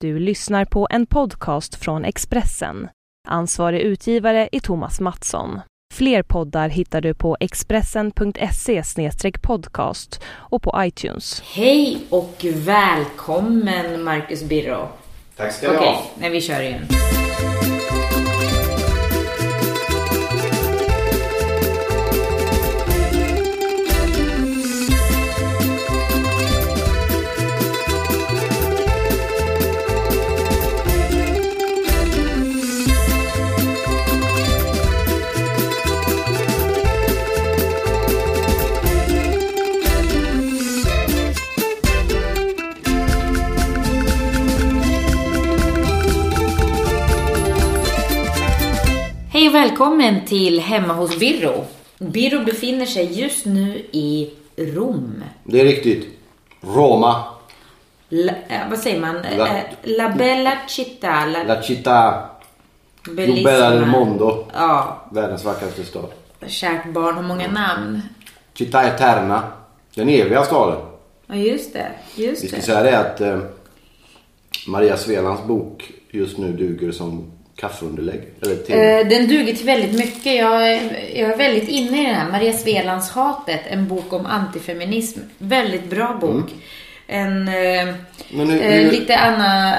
du lyssnar på en podcast från Expressen. Ansvarig utgivare är Thomas Mattsson. Fler poddar hittar du på expressen.se podcast och på iTunes. Hej och välkommen Marcus Birro. Tack ska Okej, du ha. nej, vi kör igen. Hej och välkommen till Hemma hos Birro. Birro befinner sig just nu i Rom. Det är riktigt. Roma, La, eh, vad säger man? Eh, La- eh, La Bella Città. La, La Città, Bellissima. Bella del Mondo. Ja, Världens vackraste stad. kärt barn har många namn. Città Eterna, den eviga staden. Ja, just det. Vi Just ska det. säga det att eh, Maria Svelands bok just nu duger som kaffeunderlägg. Eller te. Eh, Den duger till väldigt mycket. Jag är, jag är väldigt inne i den här. Maria Svelands Hatet, en bok om antifeminism. Väldigt bra bok. En eh, Mm. Men hur- eh, hur- lite annan... eh,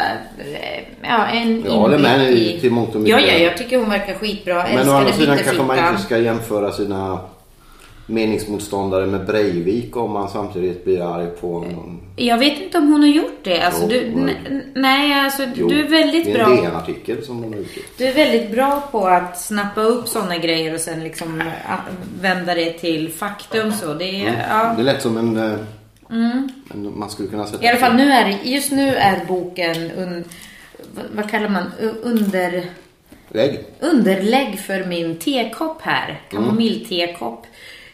Ja, en Jag håller med inblick i- till mångt och mycket. Ja, ja, jag tycker hon verkar skitbra. Men å Älskar andra den sidan vita kanske man fittan. inte ska jämföra sina meningsmotståndare med Breivik om man samtidigt blir arg på någon. Jag vet inte om hon har gjort det. Alltså, Jo, du, hon har n- gjort n- nej, alltså, Jo, du är väldigt Det är en bra. DN-artikel som hon har gjort. Du är väldigt bra på att snappa upp sådana grejer och sen liksom eh, vända det till faktum. Så det, är, Mm. Eh, ja. Mm. Det lät som en... eh, en man skulle kunna sätta... I alla fall nu är, det- just nu är boken un, vad- vad kallar man U- under, Lägg. underlägg för min tekopp Mm. här. Kamomilltekopp.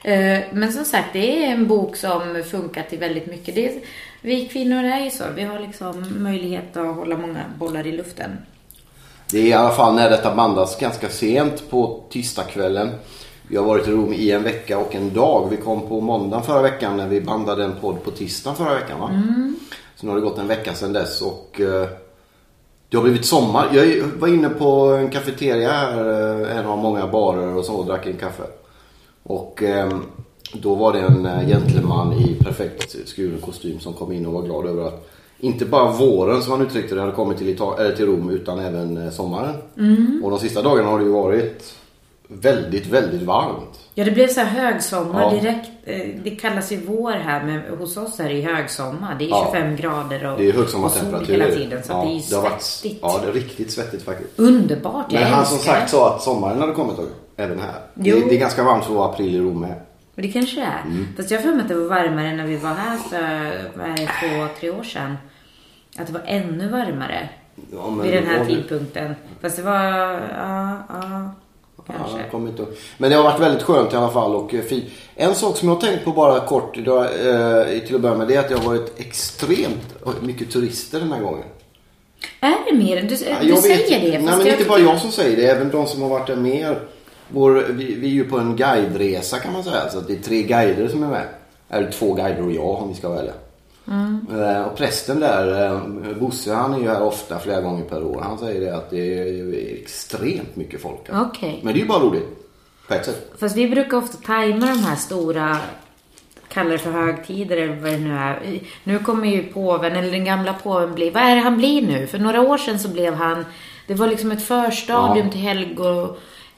Eh, Men som sagt, det är en bok som funkar till väldigt mycket. Det är, vi kvinnor är ju så. Vi har liksom möjlighet att hålla många bollar i luften. Det är i alla fall när detta bandas ganska sent på tisdagskvällen. Vi har varit i Rom i en vecka och en dag. Vi kom på måndagen förra veckan när vi bandade en podd på tisdagen förra veckan. Va? Mm. Så nu har det gått en vecka sedan dess och eh, det har blivit sommar. Jag var inne på en kafeteria här, eh, en av många barer och så och drack en kaffe. Och ehm, då var det en eh, gentleman i perfekt skuren kostym som kom in och var glad över att inte bara våren som han uttryckte det hade kommit till, Ita- eller till Rom utan även eh, sommaren. Mm. Och de sista dagarna har det ju varit väldigt, väldigt varmt. Ja, det blev så här högsommar Ja. direkt. Eh, Det kallas ju vår här, men hos oss är det ju högsommar. Det är Ja. 25 grader och, Det är ju och sol högsommartemperaturer. hela tiden. Så att det är ju har varit- svettigt. Ja, det är riktigt svettigt faktiskt. Underbart, jag Men han som älskar sagt det. sa att sommaren hade kommit även här. Det, Jo. det är ganska varmt för att vara april i Rom med. Men det kanske det är. Mm. Fast jag har för mig att det var varmare när vi var här för vad är det, två, tre år sedan. Att det var ännu varmare Ja, men vid den då här var det- tidpunkten. Fast det var, ja, ja, kanske. Ja, jag kommer inte ihåg. Men det har varit väldigt skönt i alla fall och eh, fint. En sak som jag har tänkt på bara kort idag, eh, till att börja med det är att det har varit extremt eh, mycket turister den här gången. Är det mer? Du, Ja, du jag vet säger inte. det. Nej, fast men jag inte bara tycker- jag som säger det. Även de som har varit där mer. Vår, vi, vi är ju på en guideresa kan man säga. Så att det är tre guider som är med. Eller två guider och jag om vi ska välja. Mm. Eh, Och prästen där, eh, Bosse, han är ju här ofta flera gånger per år. Han säger det att det är ju extremt mycket folk här. Okej. Men det är ju bara roligt. På ett sätt. Fast vi brukar ofta tajma de här stora, kallar det för högtider eller vad det nu är. Nu kommer ju påven, eller den gamla påven bli, vad är det han blir nu? För några år sedan så blev han, det var liksom ett förstadium Ja. till helgo,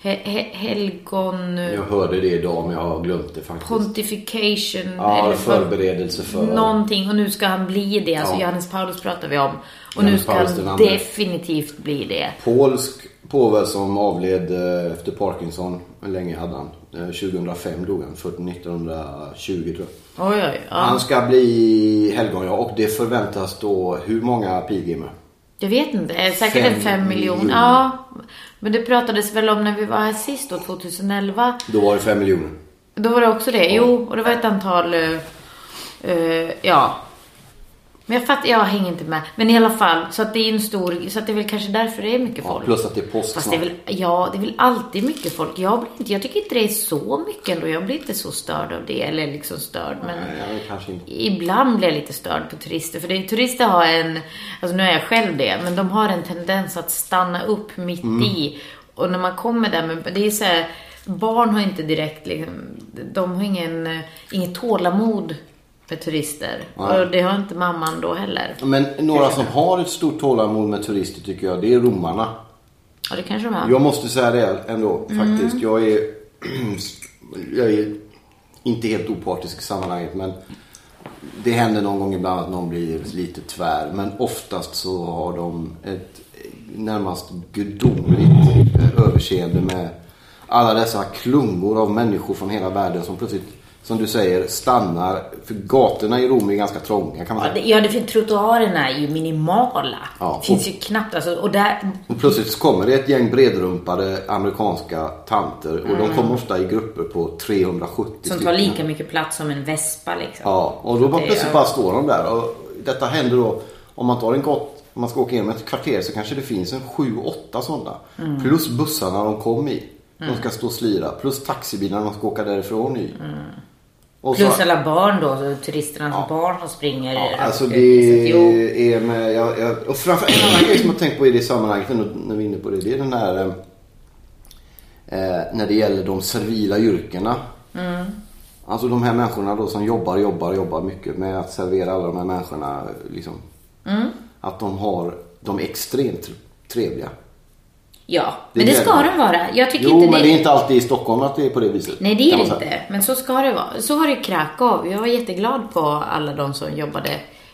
he, he, helgon... Jag hörde det idag men jag har glömt det faktiskt. Pontification. Ja, eller vad- förberedelse för- Någonting. Och nu ska han bli det. Alltså Ja. Johannes Paulus pratar vi om. Och nu Johannes ska Paulus han den andra. definitivt bli det. Polsk påve som avled eh, efter Parkinson. Hur länge hade han? Eh, 2005 dog han. Född 1920 tror jag. Oj, oj, ja. Han ska bli helgon ja. Och det förväntas då hur många pilgrimer? Jag vet inte. Eh, Säkert Fem en fem miljoner. miljoner. Ja. Men det pratades väl om när vi var här sist då, 2011. Då var det fem miljoner. Då var det också det. Jo, och det var ett antal... eh, eh, ja. Men jag fattar, jag hänger inte med. Men i alla fall, så att det är en stor, så att det är väl kanske därför det är mycket folk. Plus att det är påsk Fast det är snart. väl, ja, det är väl alltid mycket folk. Jag, blir inte, jag tycker inte det är så mycket ändå. Jag blir inte så störd av det, eller liksom störd. Men Nej, jag vet kanske inte. ibland blir jag lite störd på turister. För det, turister har en, alltså nu är jag själv det, men de har en tendens att stanna upp mitt i. Och när man kommer där, men det är så här, barn har inte direkt, liksom, de har ingen, eh, inget tålamod för turister. Nej. Och det har inte mamman då heller. Men några som har ett stort tålamod med turister tycker jag, det är romarna. Ja, det kanske de har. Jag måste säga det ändå faktiskt. Jag är, jag är inte helt opartisk i sammanhanget men det händer någon gång ibland att någon blir lite tvär. Men oftast så har de ett närmast gudomligt överseende med alla dessa klungor av människor från hela världen som plötsligt, som du säger, stannar. För gatorna i Rom är ganska trånga kan man Ja, säga. det, ja, det finns trottoarerna är ju minimala. Ja, finns och- ju knappt. Alltså, och där, Och plötsligt så kommer det ett gäng bredrumpade amerikanska tanter och de kommer ofta i grupper på 370 Mm. som tar stycken. lika mycket plats som en vespa liksom. Mm. Ja, och då bara Det- plötsligt bara står de där. Och detta händer då om man tar en gott, om man ska åka igenom ett kvarter så kanske det finns en 7-8 sådana. Mm. Plus bussarna de kom i. De ska stå och slira. Plus taxibilarna de ska åka därifrån i. Och Mm. Plus alla barn då, så turisternas barn som springer. Ja, runt. alltså Så att, det Eh, jo, är med, jag, jag, och framför en annan grej som jag tänkt på i det sammanhanget när, när vi är inne på det. Det är den här eh, eh, när det gäller de servila yrkena. Mm. Alltså de här människorna då som jobbar, jobbar, jobbar mycket med att servera alla de här människorna. eh, Liksom, Mm. Att de har, de är extremt trevliga. ja. det men det gör ska det. de vara. Jag tycker Jo, inte men det är inte alltid i Stockholm att det är på det viset. Nej, det är kan det man säga. inte. Men så ska det vara. Så var det i Krakow. Jag var jätteglad på alla de som jobbade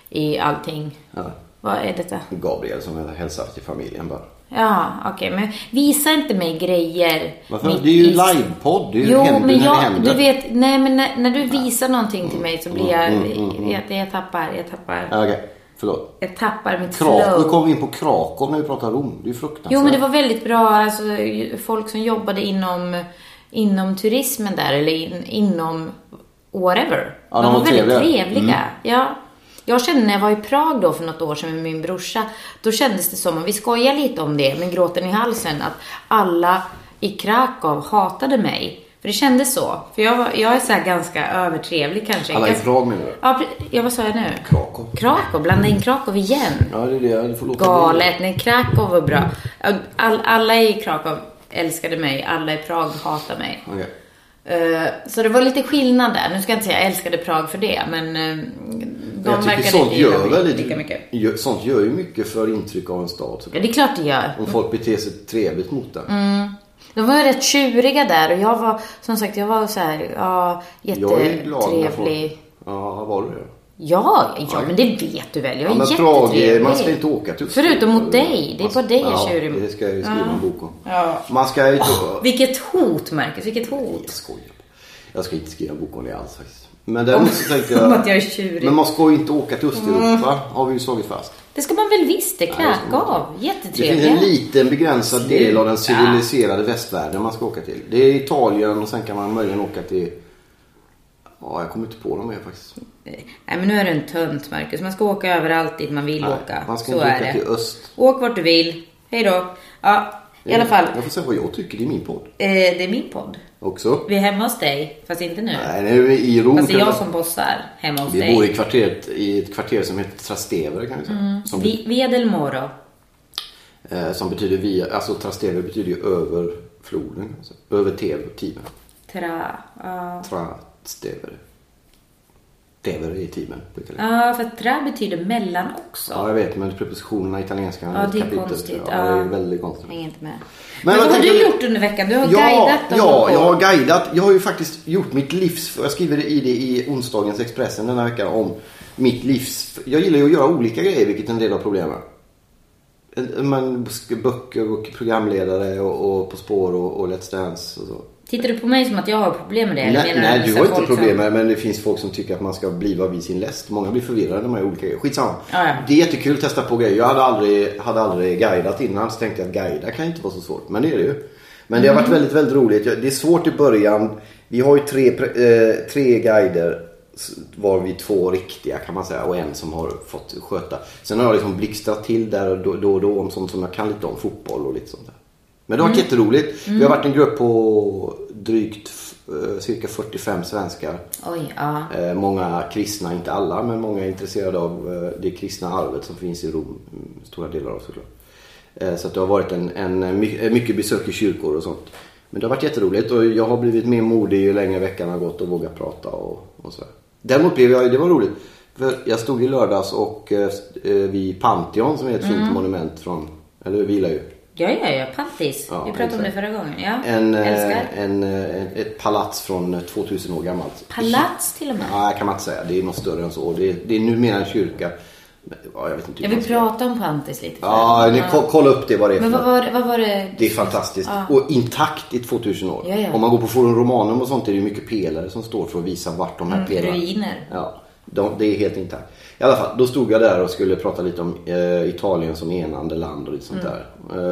i allting. Ja. Vad är detta? Gabriel som hälsar till familjen bara. Ja, okej. Men visa inte mig grejer. Varför? mitt Det är ju i- livepodd. Det är ju- jo, händer men när jag, det händer. Mm. Du vet, nej men när, när du visar någonting till mig så blir jag... jag, jag tappar, jag tappar. Ja, Okej, förlåt. Jag tappar mitt Krakow, nu flow. kom vi in på Krakow när vi pratar Rom. Det är ju fruktansvärt. Jo, men det var väldigt bra alltså, folk som jobbade inom, inom turismen där, eller in, inom whatever. Ja, de de var var väldigt trevliga. Mm. trevliga. Ja. Jag kände när jag var i Prag då för något år sedan med min brorsa, då kändes det som, och vi skojade lite om det med gråten i halsen, att alla i Krakow hatade mig. För det kändes så. För jag, var, jag är så här ganska övertrevlig kanske. Alla i Ganska- Prag menar du? Ja, pre- ja, vad sa jag nu? Krakow. Krakow, blanda in Krakow igen. Ja, det är det. Du får låta bli. Galet. Nej, Krakow var bra. All, alla i Krakow älskade mig. Alla i Prag hatade mig. Okej. Eh, så det var lite skillnad där. Nu ska jag inte säga jag älskade Prag för det, men eh, de Jag tycker verkade sånt inte gör gilla väl mig lite, lika mycket. gör- Sånt gör ju mycket för intryck av en stad. Ja, det är klart det gör. Om folk beter sig trevligt mot den. Mm, De var ju rätt tjuriga där och jag var, som sagt, jag var så här, ja, jag är ju glad när jättetrevlig. folk... Ja, var du det? Ja, ja, men det vet du väl. Jag är Ja, men jättetrevlig. Prag, man ska inte åka till Förutom mot dig. Det är på dig jag är ja, tjurig mot. det ska jag ju skriva en bok om. Ja. Man ska ju inte... Vilket hot, Marcus. Vilket hot. Jag skojar. Jag ska inte skriva en bok om det alls faktiskt. Men däremot så tänkte jag... Om att jag är tjurig. Men man ska ju inte åka till Östeuropa Mm. har vi ju slagit fast. Det ska man väl visst, det ska man Krakow. Det finns en Jättetrevligt. liten begränsad del Ah. av den civiliserade västvärlden man ska åka till. Det är Italien och sen kan man möjligen åka till... Ja, jag kommer inte på dem mer faktiskt. Nej men nu är du en tönt Marcus. Man ska åka överallt dit man vill Nej, åka. man ska Så inte är åka det. till öst. Åk vart du vill. Hej då. Ja, i alla fall. Jag får säga vad jag tycker i min podd Eh, det är min podd. också. Vi är hemma hos dig, fast inte nu. Nej, nu är vi i Rom. fast det är kan Alltså, jag vi- som bossar hemma hos Vi dig. bor i, kvarteret, i ett kvarter som heter Trastevere kan vi säga. Som, Mm. Vi, via del Moro. eh, som betyder via... Alltså Trastevere betyder ju över floden. kan man säga. Över Tev- Timen. Tra... Ja, Trastevere. Tevere i Timen på italienska. Ja, för tra betyder mellan också. Ja, jag vet, men prepositionerna i italienskan Ja, ett det är kapitel, konstigt. Ja, det är Ja. väldigt konstigt. Hänger inte med. Men, vad vad har tänker du du- gjort under veckan? Du har Ja, guidat dem ja, på- jag har guidat. Jag har ju faktiskt gjort mitt livs... Jag skriver det i det i onsdagens Expressen den här veckan om mitt livs... Jag gillar ju att göra olika grejer, vilket är en del av problemet. Men böcker och programledare och, och På spår och, och Let's Dance och så. Tittar du på mig som att jag har problem med det? eller Nej, menar nej du vissa har inte folk som- problem med det, men det finns folk som tycker att man ska bliva vid sin läst. Många blir förvirrade med de här olika grejer. Skitsamma. Ja, ja. Det är jättekul att testa på grejer. Jag hade aldrig, hade aldrig guidat innan, så tänkte jag att guida kan inte vara så svårt. Men det är det ju. Men det har Mm. varit väldigt, väldigt roligt. Jag- Det är svårt i början. Vi har ju tre, pre- eh, tre guider var vi två riktiga kan man säga och en som har fått sköta. Sen har jag liksom blixtrat till där och då, då och då om sånt som jag kan lite om. Fotboll och lite sånt där. Men det har Mm. varit jätteroligt. Vi har varit en grupp på drygt eh, cirka 45 svenskar. Oj, ja. Eh, Många kristna, inte alla, men många är intresserade av eh, det kristna arvet som finns i Rom. mm, Stora delar av såklart. Eh, Så att det har varit en, en, my- eh, mycket besök i kyrkor och sånt. Men det har varit jätteroligt och jag har blivit mer modig ju längre veckan har gått och vågat prata och, och sådär. Däremot blev jag, det var roligt, för jag stod i lördags och eh, st- eh, vid Pantheon som är ett Mm. fint monument från, eller hur, vi gillar ju. Ja, ja, ja. Pantis. Ja, vi pratade om det exakt. förra gången. Ja. En, Älskar. eh, en, eh, ett- ett palats från eh, 2000 år gammalt. Palats till och med. Nej, kan man inte säga. Det är något större än så. Det är, det är numera en kyrka. Men, Ja, jag vet inte. hur Jag man vill ska- prata om Pantis lite. Ja, förut. ni, ko- kolla upp det vad det är för Men vad något. var, det- vad var det? Det är fantastiskt. Ja. Och intakt i 2000 år. Ja, ja. Om man går på Forum Romanum och sånt är det ju mycket pelare som står för att visa vart de här Mm, pelarna... ruiner. Ja, de, det är helt intakt. I alla fall, då stod jag där och skulle prata lite om eh, Italien som enande land och lite sånt Mm. där.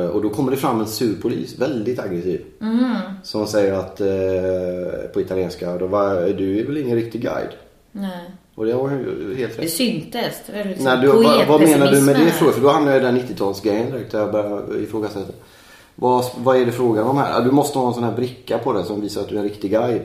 Eh, och då kommer det fram en sur polis, väldigt aggressiv. Mm. Som säger att, eh, på italienska, då var, du är väl ingen riktig guide? Nej. Och det var ju helt Det rätt. syntes. Det var liksom Nej, du, vad, vad menar du med poetpessimismen det här. frågan? För då hamnar jag i den 90-talsgrejen direkt där jag börjar ifrågasätta. Vad, vad är det frågan om här? Ja, Du måste ha en sån här bricka på dig som visar att du är en riktig guide.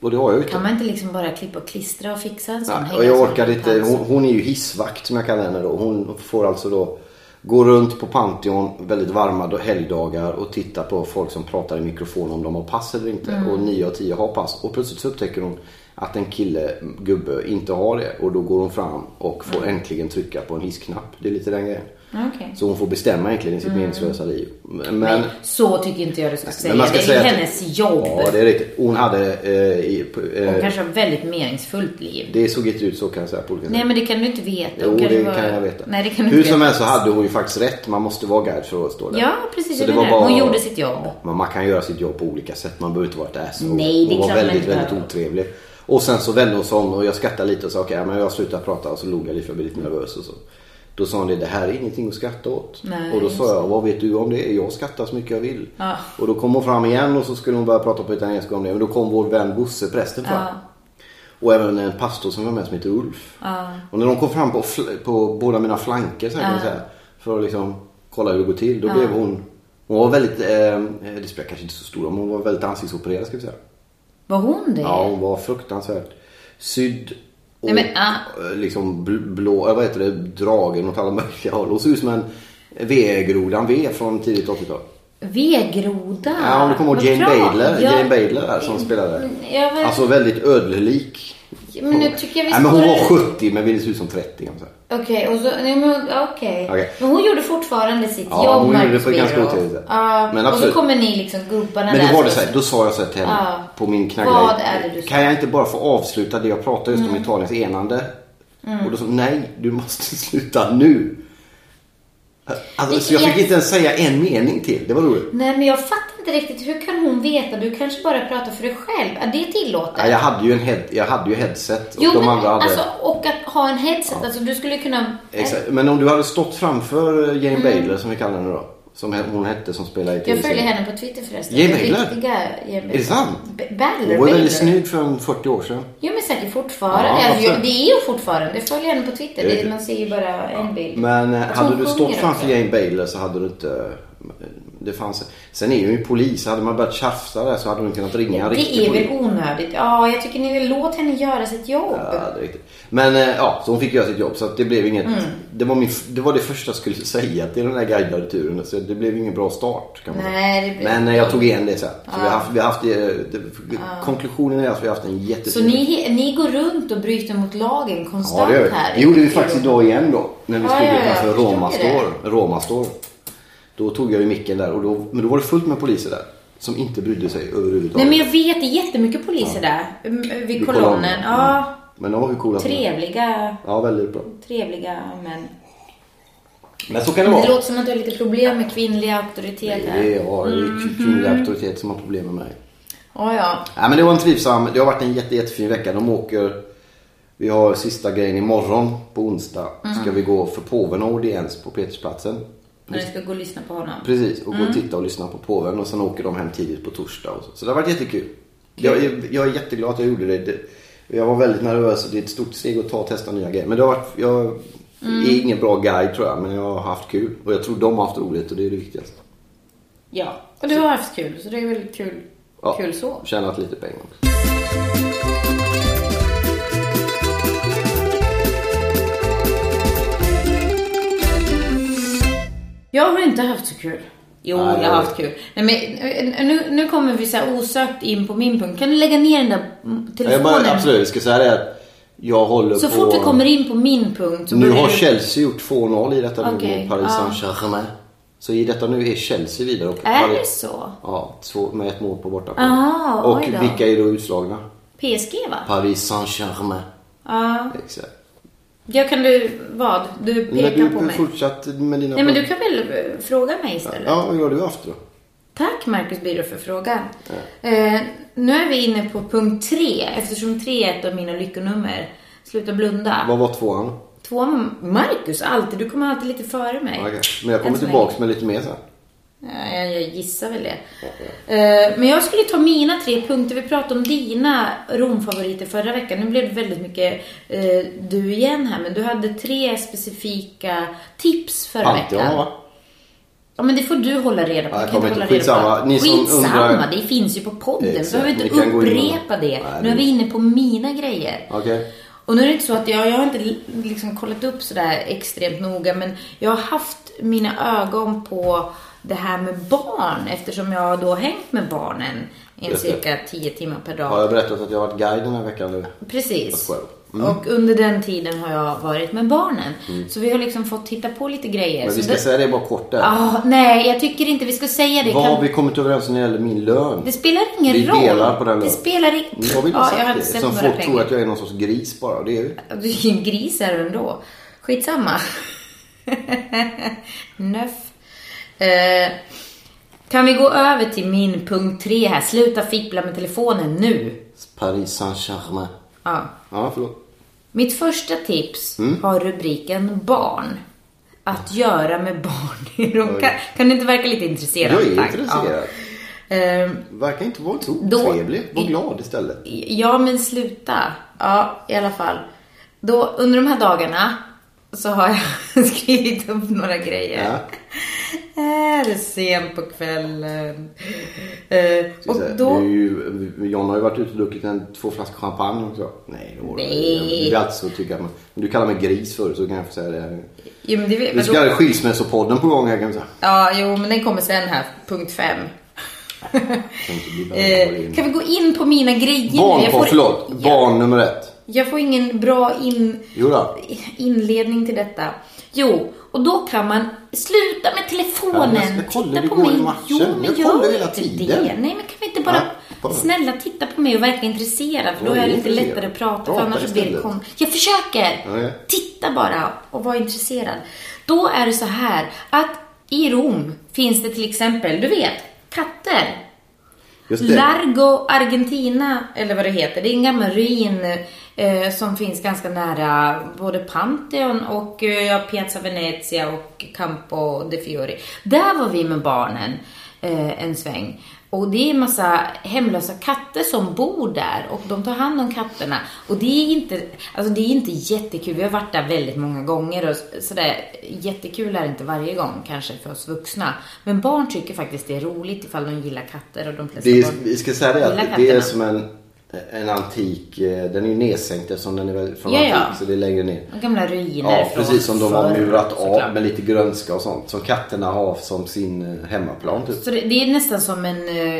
Och det har jag ju inte. Kan man inte liksom bara klippa och klistra och fixa en sån? Nej, hänga och en jag sån orkade inte. pants? Hon, hon är ju hissvakt som jag kallar henne då. Hon får alltså då gå runt på Pantheon väldigt varma då- helgdagar och titta på folk som pratar i mikrofon om de har pass eller inte. Och 9 av 10 har pass. Och plötsligt så upptäcker hon att en kille, gubbe, inte har det. Och då går hon fram och får äntligen trycka på en hissknapp. Det är lite den grejen. Okej. Så hon får bestämma egentligen i sitt meningslösa liv. Men, Men så tycker inte jag du ska säga. men man ska det är säga att- hennes jobb. Ja, det är riktigt. Hon hade... Eh, i, på- eh, Hon kanske har väldigt meningsfullt liv. det såg inte ut så kan jag säga på olika sätt. Nej, men det kan du inte veta. Mm. Jo, Hon det kanske kan var- jag veta. Nej, det kan du Hur inte som veta. helst så hade hon ju faktiskt rätt. Man måste vara guide för att stå där. Ja, precis, Så jag menar. Hon gjorde sitt jobb. Ja, men man kan göra sitt jobb på olika sätt. Man behöver inte vara ett asshole. Nej, det är Hon var klart man väldigt, inte väldigt behöver. otrevlig. Och sen så vände hon sig om och jag skrattade lite och sa okej, men jag slutar prata. Och så log jag lite för jag blev lite nervös och så. Då sa hon det, det här är ingenting att skratta åt. Nej, och då sa just jag, vad vet du om det? Jag skrattar så mycket jag vill. Ja. Och då kom hon fram igen och så skulle hon börja prata på italienska om det. Men då kom vår vän Bosse, prästen fram. Ja. Och även en pastor som var med som heter Ulf. Och när de kom fram på, fl- på båda mina flanker så här kan man säga, för att liksom kolla hur det går till. Då blev hon, hon var väldigt, eh, det spelar kanske inte så stor roll, men hon var väldigt ansiktsopererad ska vi säga. Var hon det? Ja, hon var fruktansvärt sydd. Och Nej, men, ah. eh, liksom bl- blå, eh, vad heter det, dragen åt alla möjliga håll. Hon såg ut som en V-grodan V från tidigt 80-tal. Vegroda? Ja, om du kommer ihåg Vad Jane bra. Badler, Ja. Mm, Jane Badler där som spelade. Jag vet- Alltså väldigt ödlelik. Men nu tycker jag vi Nej, men hon var spårar ur. 70 men ville se ut som 30 kan man säga. Okej, och så, nej, men, okej. Okej. men hon gjorde fortfarande sitt Ja, jobb, hon gjorde Marcus det för ganska Birro. otroligt, ja. Ja, Men och så absolut. kommer ni liksom gubbarna Men där. då var det som- så här, då sa jag så här till henne Ja. på min Vad är det knaggare. du sa? Mm. Kan jag inte bara få avsluta det jag pratade just om Italiens enande? Och då sa hon, nej du måste sluta nu. Alltså, så jag fick Jag- inte ens säga en mening till. Det var roligt. Nej, men jag fattar inte riktigt. Hur kan hon veta? Du kanske bara pratar för dig själv. Är det tillåtet? Ja, jag hade ju en head, jag hade ju headset och Jo, de men, andra hade... alltså, eh- och att ha en headset. Alltså, du skulle kunna... Exakt. Men om du hade stått framför eh, Jane Baylor som vi kallar henne då. Som he- hon hette som spelade i Mm. Jag följer tv-serien. henne på Twitter förresten. Jane Den Badler? Riktiga Jane Badler. Är det sant? B- Badler, Hon var ju väldigt Badler. snygg för en 40 år sedan. Jo, men säkert fortfarande. Ja, alltså, jag, absolut. det är ju fortfarande. Jag följer henne på Twitter. Det är Det, det. man ser ju bara en bild. Men eh, Att hade hon du sjunger stått också. framför Jane Baylor så hade du inte... eh, Det fanns... Sen är hon ju polis. Hade man börjat tjafsa där så hade hon kunnat ringa en Det riktig är polis. väl onödigt. Ja, jag tycker ni låt henne göra sitt jobb. Ja, det är riktigt. Men eh, ja, så hon fick göra sitt jobb så att det blev inget... Mm. Det, var min, det var det första jag skulle säga till den här guidade turen. Så det blev ingen bra start kan man säga. Nej, det blev- Men eh, jag tog igen det sen. Så vi har haft... Vi har haft eh, det, Konklusionen är att vi har haft en jättefin... Så ni, ni går runt och bryter mot lagen konstant Ja, det gör vi. här? Det gjorde vi faktiskt idag igen då. När vi Ja, stod ja, ja, utanför jag förstår Roma det. Store. Roma Store. Då tog jag ju micken där och då, men då var det fullt med poliser där. Som inte brydde sig överhuvudtaget. Nej, men jag vet. Det är jättemycket poliser där. mm, Vid Vid kolonnen. Ja. Mm. Men de var ju coola. som- Trevliga, Ja, väldigt bra. trevliga män. Men så kan det Det vara. låter som att du har lite problem med kvinnliga auktoriteter. Det är, ja, det Mm, är kvinnlig auktoritet som har problem med mig. Ja, ja. Nej, men det var en trivsam, det har varit en jätte, jättefin vecka. De åker, vi har sista grejen imorgon på onsdag. Mm. Ska vi gå för påven och audiens på Petersplatsen. Men du ska gå och lyssna på honom. Precis, och gå Mm. och titta och lyssna på påven och sen åker de hem tidigt på torsdag. Och så. så det har varit jättekul. Jag, är- jag är jätteglad att jag gjorde det. det. Jag var väldigt nervös och det är ett stort steg att ta och testa nya grejer. Men det har varit, jag Mm. är ingen bra guide tror jag, men jag har haft kul. Och jag tror de har haft roligt och det är det viktigaste. Ja, och du har haft kul, så det är väl kul, Ja, kul så. Tjänat lite pengar också. Jag har inte haft så kul. Jo, Nej, jag jag har vet. haft kul. Nej, men, eh, nu, nu kommer vi så här osökt in på min punkt. Kan du lägga ner den där mm, Jag telefonen? bara, absolut, jag ska säga det att jag håller Så på... fort vi kommer in på min punkt så Nu börjar har du- Chelsea gjort 2-0 i detta nu Okej, mot Paris ja. Saint-Germain. Så i detta nu är Chelsea vidare. Och Är Paris- det så? Ja, två, med ett mål på bortaplan. Aha, och oj då. vilka är då utslagna? PSG va? Paris Saint-Germain. Ja. Exakt. Ja, kan du... Vad? Du Men pekar du på mig. fortsatt med dina Nej, men du kan väl eh, fråga mig istället? Ja, vad gör du efter då? Tack Marcus Byrå för frågan. Eh, nu är vi inne på punkt tre, eftersom tre är ett av mina lyckonummer. Sluta blunda. Vad var tvåan? Två, Marcus, alltid. Du kommer alltid lite före mig. Okej. Men jag Än kommer så tillbaks med lite mer sen. länge. Ja, jag, jag gissar väl det. Eh, men jag skulle ta mina tre punkter. Vi pratade om dina Romfavoriter förra veckan. Nu blev det väldigt mycket eh, du igen här, men du hade tre specifika tips förra veckan. Pantheon va? Ja, men det får du hålla reda på. Ja, Du jag kan kommer inte hålla reda på inte- skitsamma. allt. Ni som Skitsamma, undrar- det finns ju på podden. Vi Exakt, behöver inte ni kan gå in och- upprepa det. Nej, nu är det- vi inne på mina grejer. Okej. Och nu är det inte så att jag, jag har inte li- liksom kollat upp sådär extremt noga, men jag har haft mina ögon på det här med barn eftersom jag då har hängt med barnen en Just det. cirka 10 timmar per dag. Har jag berättat att jag har varit guide den här veckan nu? Precis. Jag skojar. Mm. Och under den tiden har jag varit med barnen. Så vi har liksom fått titta på lite grejer. Men vi Så ska det- säga det bara kort där. Ah, nej, jag tycker inte vi ska säga det. Vad Kan- har vi kommit överens om när det gäller min lön? Det spelar ingen Vi roll. delar på den Det lönen. spelar ingen Jag vill inte ja, sagt jag har det. inte sett Som några folk tror pengar. att jag är någon sorts gris bara. Det är ju. Du är ju en gris här ändå. Skitsamma. Nöff. Eh, kan vi gå över till min punkt tre här? Sluta fippla med telefonen nu. Paris Saint-Germain. Ja. Ja, förlåt. Mitt första tips Mm. har rubriken barn. Att göra med barn. kan, kan du inte verka lite intresserad? Jag är Tack. intresserad. Ja. Eh, Verkar inte vara så Då- otrevlig. Var glad istället. Ja, men sluta. Ja, i alla fall. Då, under de här dagarna så har jag skrivit upp några grejer. Ja. Äh, det är sent på kvällen. Eh, Ska och säga, det är då... ju, John har ju varit ute och druckit en, två flaskor champagne också. Nej, det var det. Nej. Jag vill alltid så tycka att man, om du kallar mig gris förut så kan jag få säga det. Jo, men det, Vi men ska ha skilsmässopodden på gång här kan vi säga. ja, jo, men den kommer sen här. Punkt fem. Kan inte bli bättre än vad det eh, är. kan vi gå in på mina grejer nu? Barn, får- förlåt. jag, Barn nummer ett. jag får ingen bra in... Jo då. inledning till detta. Jo, och då kan man sluta med telefonen. Ja, men alltså, jag kollar, titta det på går mig. i matchen. Jo, men Jag gör kollar hela inte tiden. Det. Nej, men kan vi inte bara... Ja, kolla. snälla, titta på mig och verka intresserad. För då Jag är är det lite intresserad. lättare att prata. För Prata annars så blir det istället. konstigt. Jag försöker. Ja, ja. Titta bara och var intresserad. Då är det så här att i Rom finns det till exempel, du vet, katter. Just det. Largo Argentina, eller vad det heter. Det är en gammal ruin eh, som finns ganska nära både Pantheon och eh, ja, Piazza Venezia och Campo de Fiori. Där var vi med barnen eh, en sväng. Och det är en massa hemlösa katter som bor där och de tar hand om katterna. Och det är inte, alltså det är inte jättekul. Vi har varit där väldigt många gånger och s- sådär. Jättekul är det inte varje gång kanske för oss vuxna. Men barn tycker faktiskt det är roligt ifall de gillar katter och de flesta Det är, barn- vi ska säga det Gillar att det är katterna. som en, en antik, eh, den är ju nedsänkt eftersom den är väl från Ja, antik ja. så det är längre ner. De gamla ruiner Ja, från precis som de har förr, murat av såklart. med lite grönska och sånt. Som katterna har som sin eh, hemmaplan typ. Så det, det är nästan som en eh,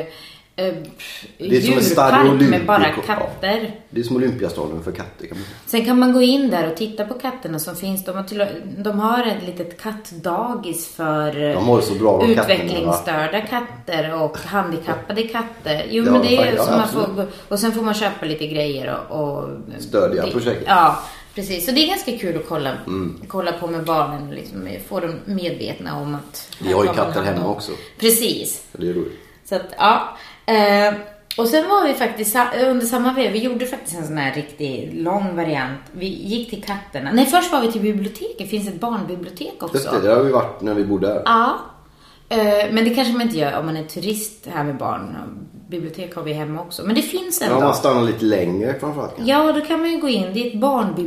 eh, pff, Det är som en stad djurpark med olympico- bara ja. katter. Det är som Olympiastadion för katter kan man säga. Sen kan man gå in där och titta på katterna som finns. De har, till, de har ett litet kattdagis för eh, De har det så bra, de katterna, va? utvecklingsstörda katter och handikappade katter. Jo, Ja, men det är fan, ju ja, som man får, absolut. gå- Och sen får man köpa lite grejer och... och Stödja det- projektet. Ja, precis. Så det är ganska kul att kolla, Mm. kolla på med barnen och liksom få dem medvetna om att... Vi har ju här tar man katter hand om- hemma också. Precis. Det är roligt. Så att, ja. Eh, och sen var vi faktiskt sa- under samma veva, vi gjorde faktiskt en sån här riktigt lång variant. Vi gick till katterna. Nej, först var vi till biblioteket. Finns ett barnbibliotek också. Just det, där har vi varit när vi bodde här. Ja. Eh, men det kanske man inte gör om man är turist här med barn. bibliotek har vi hemma också. Men det finns ändå. Ja, man stannar lite längre framförallt kanske. Ja, då kan man ju gå in. Det är ett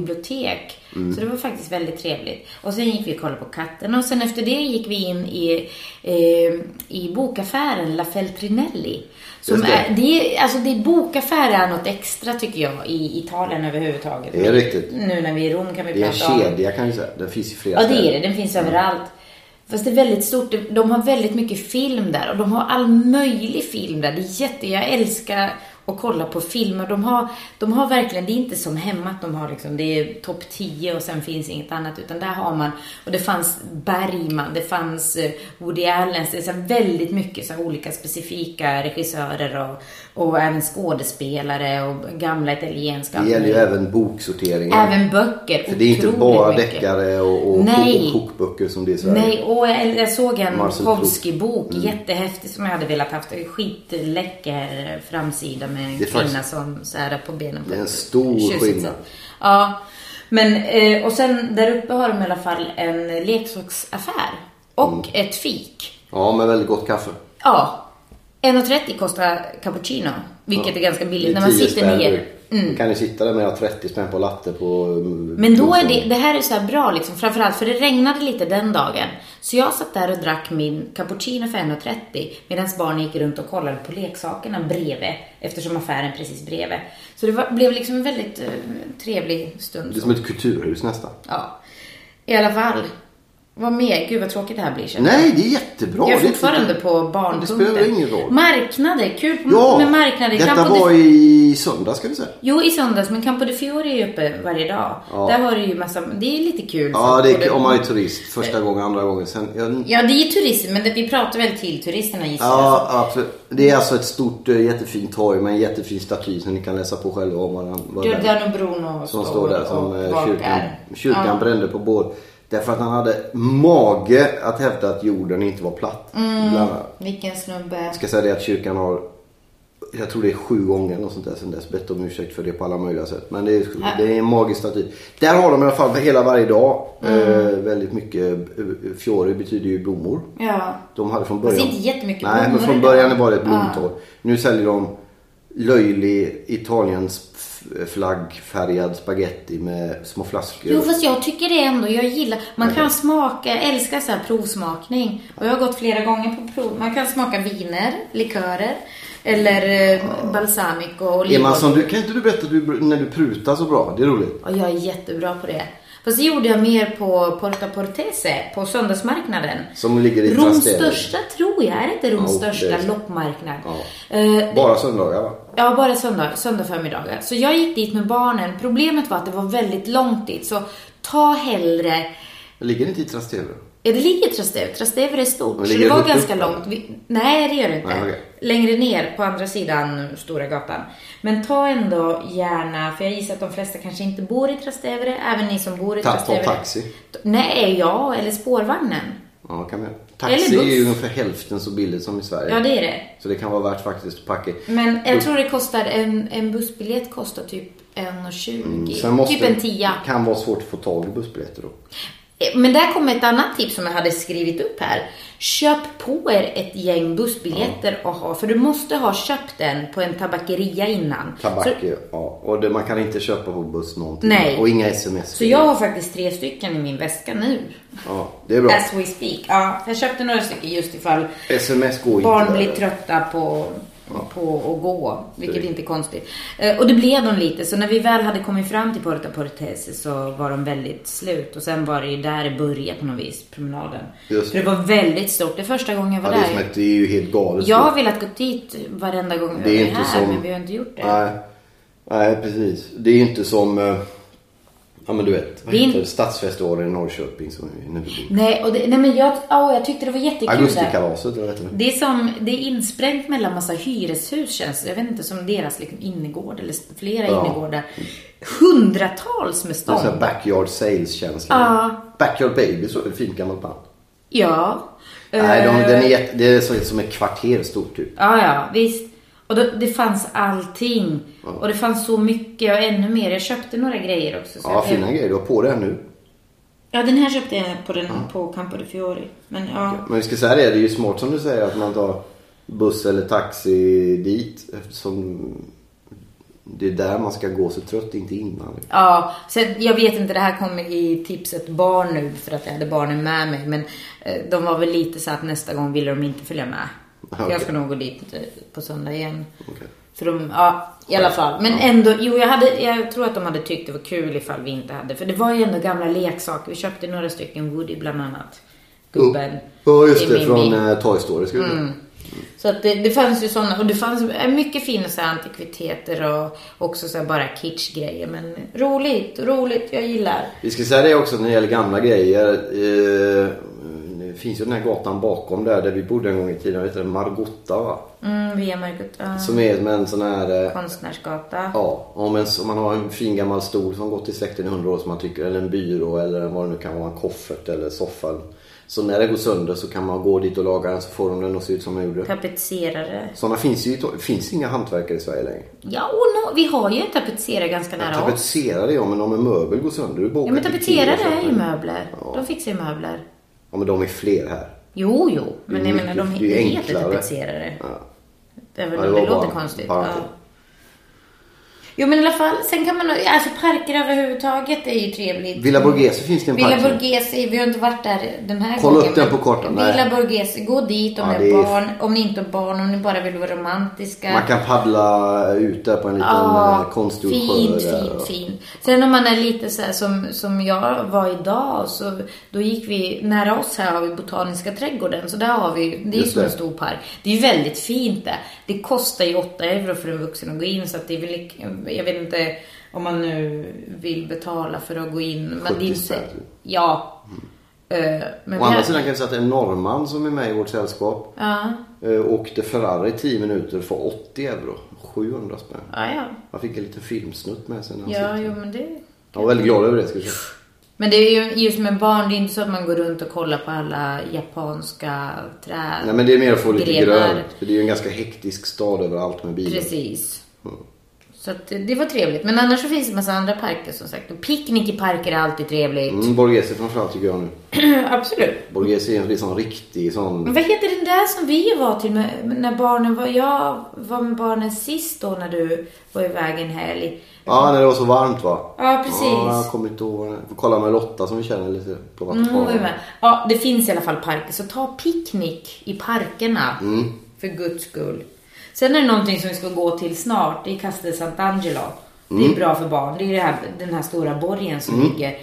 barnbibliotek. Mm. Så det var faktiskt väldigt trevligt. Och sen gick vi och kollade på katten och sen efter det gick vi in i, eh, i bokaffären La Feltrinelli. Som Just det. det. Är, det är, alltså det är bokaffär är något extra tycker jag i Italien överhuvudtaget. Det är riktigt. Nu när vi är i Rom kan vi Det är en prata om. kedja kan vi säga. Den finns i flera Ja, det är det. Den finns överallt. Fast det är väldigt stort. De- De har väldigt mycket film där och de har all möjlig film där. Det är jätte... Jag älskar att kolla på filmer. De har, de har verkligen... Det är inte som hemma att de har liksom... Det är topp 10 och sen finns inget annat. Utan där har man... Och det fanns Bergman, det fanns eh, Woody Allen. Det är så här väldigt mycket så här olika specifika regissörer och, och även skådespelare och gamla italienska. Det gäller ju även boksorteringen. Även böcker. För det är inte Otroligt bara mycket. deckare och, och Nej. kokböcker som det är i Sverige. Nej, och jag, jag såg en Marcel Mm. Kowski-bok, jättehäftig, som jag hade velat haft. Skitläcker framsida med en Det är kvinna faktiskt- som så här på benen. på Det är en ett stor tjusigt skillnad. sätt. Ja, men eh, och sen där uppe har de i alla fall en leksaksaffär och Mm. ett fik. Ja, med väldigt gott kaffe. Ja, 1,30 kostar cappuccino, vilket är ganska Det billigt är när man 10 sitter spänn. ner. Mm. Då Kan ni sitta där med 30 spänn på latte på... mm, Men då är Kungsholmen. det, det här är så här bra liksom, framförallt för det regnade lite den dagen. Så jag satt där och drack min cappuccino för 1,30 medan barnen gick runt och kollade på leksakerna bredvid eftersom affären precis bredvid. Så det var, blev liksom en väldigt eh, trevlig Det är stund. som ett kulturhus nästan. Ja. I alla fall. Vad mer? Gud vad tråkigt det här blir. känner jag. Nej, det är jättebra. Jag är Det fortfarande på Det barnpunkten. spelar ingen roll. Marknader, kul på- Ja, med marknader. detta Campo di- var i söndag ska vi säga. Jo, i söndags, men Campo de Fiore är ju uppe varje dag. Ja. Där har du ju massa, det är lite kul. Ja, så- det och är, om man är turist. Första eh, gången, andra gången. Sen, mm. jag, Ja, det är ju turism, men det, vi pratar väl till turisterna gissar ja, absolut. Det är alltså ett stort, eh, jättefint torg med en jättefin staty som ni kan läsa på själva om vad den- vad jag. den- Du, där och bron och Som står där som och eh, bakar. kyrkan, kyrkan Ja. brände på bål. Därför att han hade mage att hävda att jorden inte var platt. Mm. Bland annat. Vilken snubbe. Jag ska säga det att kyrkan har, jag tror det är sju gånger eller något sånt där sen dess, bett om ursäkt för det på alla möjliga sätt. Men det är, det är en magisk staty. Där har de i alla fall hela varje dag Mm. eh, väldigt mycket, eh, fiori betyder ju blommor. Ja. De hade från Fast början... inte jättemycket Nej, men blommor Ah. från idag. början var det ett blomtorg. Nu säljer de löjlig Italiens f- flaggfärgad spaghetti med små flaskor. Jo, fast jag tycker det ändå. Jag gillar. Man kan smaka, jag älskar så här provsmakning. Och jag har gått flera gånger på prov. Man kan smaka viner, likörer eller eh, balsamico och är man olivolja. som du, kan inte du berätta att du, br- när du prutar så bra? Det är roligt. Och jag är jättebra på det. Fast det gjorde jag mer på Porta Portese, på söndagsmarknaden. Som ligger i Roms Trastevere. största tror jag, är det inte Roms Ja, det största är så. loppmarknad? Ja. Eh, Bara söndagar va? Ja, bara söndag, söndag förmiddagar. Så jag gick dit med barnen. Problemet var att det var väldigt långt dit. Så ta hellre... Det ligger inte i Trastevere? Ja, det ligger i Trastevere. Trastevere är stort. Men Så ligger det var det högt ganska upp, långt. Vi, nej, det gör det inte. Nej, okej. Längre ner, på andra sidan Stora gatan. Men ta ändå gärna, för jag gissar att de flesta kanske inte bor i Trastevere. Även ni som bor i Ta- ta Trastevere. taxi. Nej, ja, eller spårvagnen. Ja, kan man göra. Eller Taxi buss. är ju ungefär hälften så billigt som i Sverige. Ja, det är det. Så det kan vara värt faktiskt att packa. Men jag tror det kostar, en, en bussbiljett kostar typ 1,20. Mm, Sen måste, Typ en tia. kan vara svårt att få tag i bussbiljetter då. Eh, Men där kommer ett annat tips som jag hade skrivit upp här. Köp på er ett gäng bussbiljetter och ha, för du måste ha köpt den på en tabakeria innan. Tabak, Så, ja. Och det, man kan inte köpa på buss någonting. Nej. Och inga sms. så jag har faktiskt tre stycken i min väska nu. Ja, det är bra. As we speak. Ja, jag köpte några stycken just ifall Sms går barn inte. blir trötta på, på att gå, vilket Det- inte är konstigt. Eh, Och det blev de lite, så när vi väl hade kommit fram till Porta Portese så var de väldigt slut. Och sen var det ju där det började på något vis, promenaden. Just För det var väldigt stort. Det är första gången jag ja, var det, är som där. ett, det är ju helt galet. Jag har velat gå dit varenda gång jag det är är inte här, som... men vi har inte gjort det. Nej, Nej precis. Det är ju inte som... eh, Ja men du vet, vad Det är heter in- det? Stadsfestivalen i Norrköping som är nu. Nej, och det, nej men jag, oh, jag tyckte det var jättekul där. Augustikalaset, eller vad heter det? Det är, som, det är insprängt mellan massa hyreshus känns det. Jag vet inte, som deras liksom innergård eller flera Ja. innergårdar. Hundratals med Det är stånd. sån här backyard sales-känsla. Ja. Backyard Baby, så är det ett fint gammalt band. Ja. Nej, Eh, de, den är jätte, det är så, som ett kvarter stort typ. Ja, ja, visst. Och då, det fanns allting. Och det fanns så mycket och ännu mer. Jag köpte några grejer också. Så Ja, jag, fina grejer. Du har på det här nu. Ja, den här köpte jag på, den, på Campo de Fiori. Men ja. Men vi ska säga det, det är ju smart som du säger att man tar buss eller taxi dit eftersom det är där man ska gå så trött, inte innan. Ja, sen, jag vet inte, det här kommer i tipset barn nu för att jag hade barnen med mig. Men eh, de var väl lite så att nästa gång ville de inte följa med. Ah, Okej. Mm. Jag ska nog gå dit eh, på söndag igen. Okej. Så de, ja, i alla fall. Men ändå, jo jag, hade, jag tror att de hade tyckt det var kul ifall vi inte hade. För det var ju ändå gamla leksaker. Vi köpte några stycken, Woody bland annat. Gubben. Oh. Ja, just det. Mimmi. Från eh, Toy Story skulle mm. Så att det, det fanns ju sådana och det fanns eh, mycket fina så här antikviteter och också så här bara kitschgrejer. Men roligt, roligt, jag gillar. Vi ska säga det också när det gäller gamla grejer. Eh, det finns ju den här gatan bakom där, där vi bodde en gång i tiden. Den heter Margotta va? Mm, via Margot, ja. Som är med en sån här... Eh, Konstnärsgata. ja, om, en, om man har en fin gammal stol som gått i släkten i hundra år som man tycker, eller en byrå eller vad det nu kan vara, en koffert eller soffan. Så när det går sönder så kan man gå dit och laga den så får de den att se ut som den gjorde. Tapetserare. Sådana finns ju i, to- finns inga hantverkare i Sverige längre. Ja, och no, vi har ju en tapetserare ganska nära oss. Tapetserade ja, men om en möbel går sönder, du Ja, men tapetserare är ju möbler. De fixar ju möbler. Ja, men de är fler här. Jo, jo. Men Det är jag menar, de mycket- Mm, det är det heter enklare. tapetserare. Ja. Även Ja, om det det, var låter bara konstigt. Ja. parker. Jo, men i alla fall. Sen kan man nog- Alltså parker överhuvudtaget är ju trevligt. Villa Borghese finns det en Villa park som- Borghese, vi har inte varit där den här Kolla gången. upp den men på kartan, nej. Villa Borghese, gå dit om Ja, ni det har är- barn. Om ni inte har barn, om ni bara vill vara romantiska. Man kan paddla ut där på en liten Ja, eh, konstgjord sjö. fint, där fint, och- fint. Sen om man är lite så här som, som jag var idag, så då gick vi, nära oss här har vi Botaniska trädgården, så där har vi, det är ju Just som det. en stor park. Det är ju väldigt fint där. Det kostar ju 8 euro för en vuxen att gå in, så att det är väl, lik- jag vet inte om man nu vill betala för att gå in. Men det är 70 inte, spänn. ja. Eh, Men typ. Mm. Å vi andra har- sidan kan jag säga att en norrman som är med i vårt sällskap ja, eh, åkte Ferrari 10 minuter för 80 euro. 700 spänn. ja, ja. Han fick en liten filmsnutt med sig när han Ja, sitter. jo men det Jag var väldigt glad över det. Ska jag säga. Men det är ju just med barn, det är inte så att man går runt och kollar på alla japanska träd. Nej, men det är mer att få lite Grenar. grönt. För det är ju en ganska hektisk stad överallt med bilar. Precis. Mm. Så att det det var trevligt. Men annars så finns det en massa andra parker som sagt. Och picknick i parker är alltid trevligt. Mm, Borghese framförallt tycker jag nu. Mm. Absolut. Borghese är en liksom riktig sån... Men vad heter den där som vi var till med, när barnen var... Jag var med barnen sist då när du var iväg en helg. Ja, när det var så varmt va? Ja, precis. Ja, jag kommer inte ihåg vad det Får kolla med Lotta som vi känner lite på Mm, Vattenfall. var vi med. Ja, det finns i alla fall parker. Så ta picknick i parkerna. Mm. För guds skull. Sen är det någonting som vi ska gå till snart. Det är Castel Sant'Angelo. Det Mm. är bra för barn. Det är det här, den här stora borgen som ligger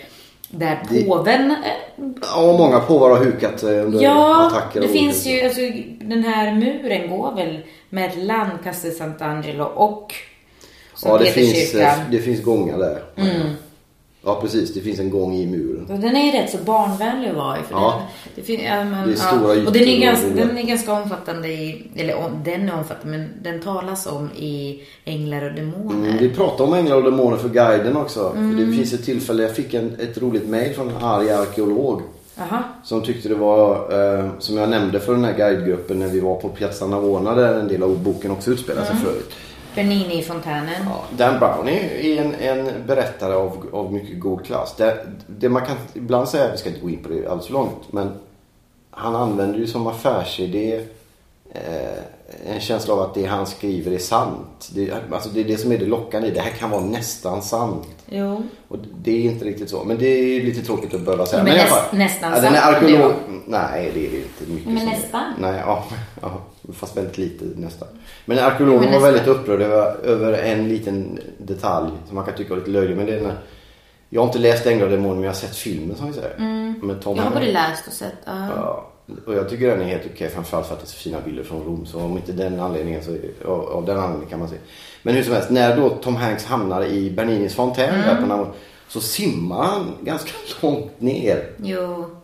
där påven... eh, Ja, och många påvar har hukat sig under Ja, attacker. det och finns olika- ju... Alltså, den här muren går väl mellan Castel Sant'Angelo och Ja, det finns, Peterskyrkan. eh, det finns gångar där. Ja, precis. Det finns en gång i muren. Och Den är ju rätt så barnvänlig att vara i. För Ja. den, det fin- ja, men, Det är stora ja. Och den är, ytor ganska, och- den är ganska omfattande i, eller om, den är omfattande, men den talas om i Änglar och Demoner. Mm, vi pratade om änglar och demoner för guiden också. För det finns ett tillfälle, jag fick en, ett roligt mejl från en arg arkeolog. Aha. Som tyckte det var, eh, som jag nämnde för den här guidegruppen när vi var på Piazza Navona där en del av boken också utspelar sig för övrigt. Bernini i fontänen. Ja, Dan Brown är är en, en berättare av, av mycket god klass. Det, det man kan ibland säga, vi ska inte gå in på det alls för långt, men han använder ju som affärsidé eh, en känsla av att det han skriver är sant. Det, alltså det är det som är det lockande i det. Det här kan vara nästan sant. Jo. Och det är inte riktigt så. Men det är lite tråkigt att behöva säga. Men i alla näst- fall- nästan ja, den är sant, arkeolog... det Nej, det är det inte mycket Men som är- nästan. Nej, ja, ja. Fast väldigt lite nästan. Men arkeologen Men var nästan. väldigt upprörd över, över en liten detalj som man kan tycka är lite löjlig. Men det är när... Jag har inte läst Änglar och Demoner men jag har sett filmen som vi säger. Med Tom Mm. Jag har Hanks. både läst och sett. Ja. Ja, och jag tycker den är helt okej framförallt för att det är så fina bilder från Rom. Så om inte den anledningen så av, av den anledningen kan man se. Men hur som helst, när då Tom Hanks hamnar i Berninis fontän Mm. där på Navon, så simmar han ganska långt ner. Jo.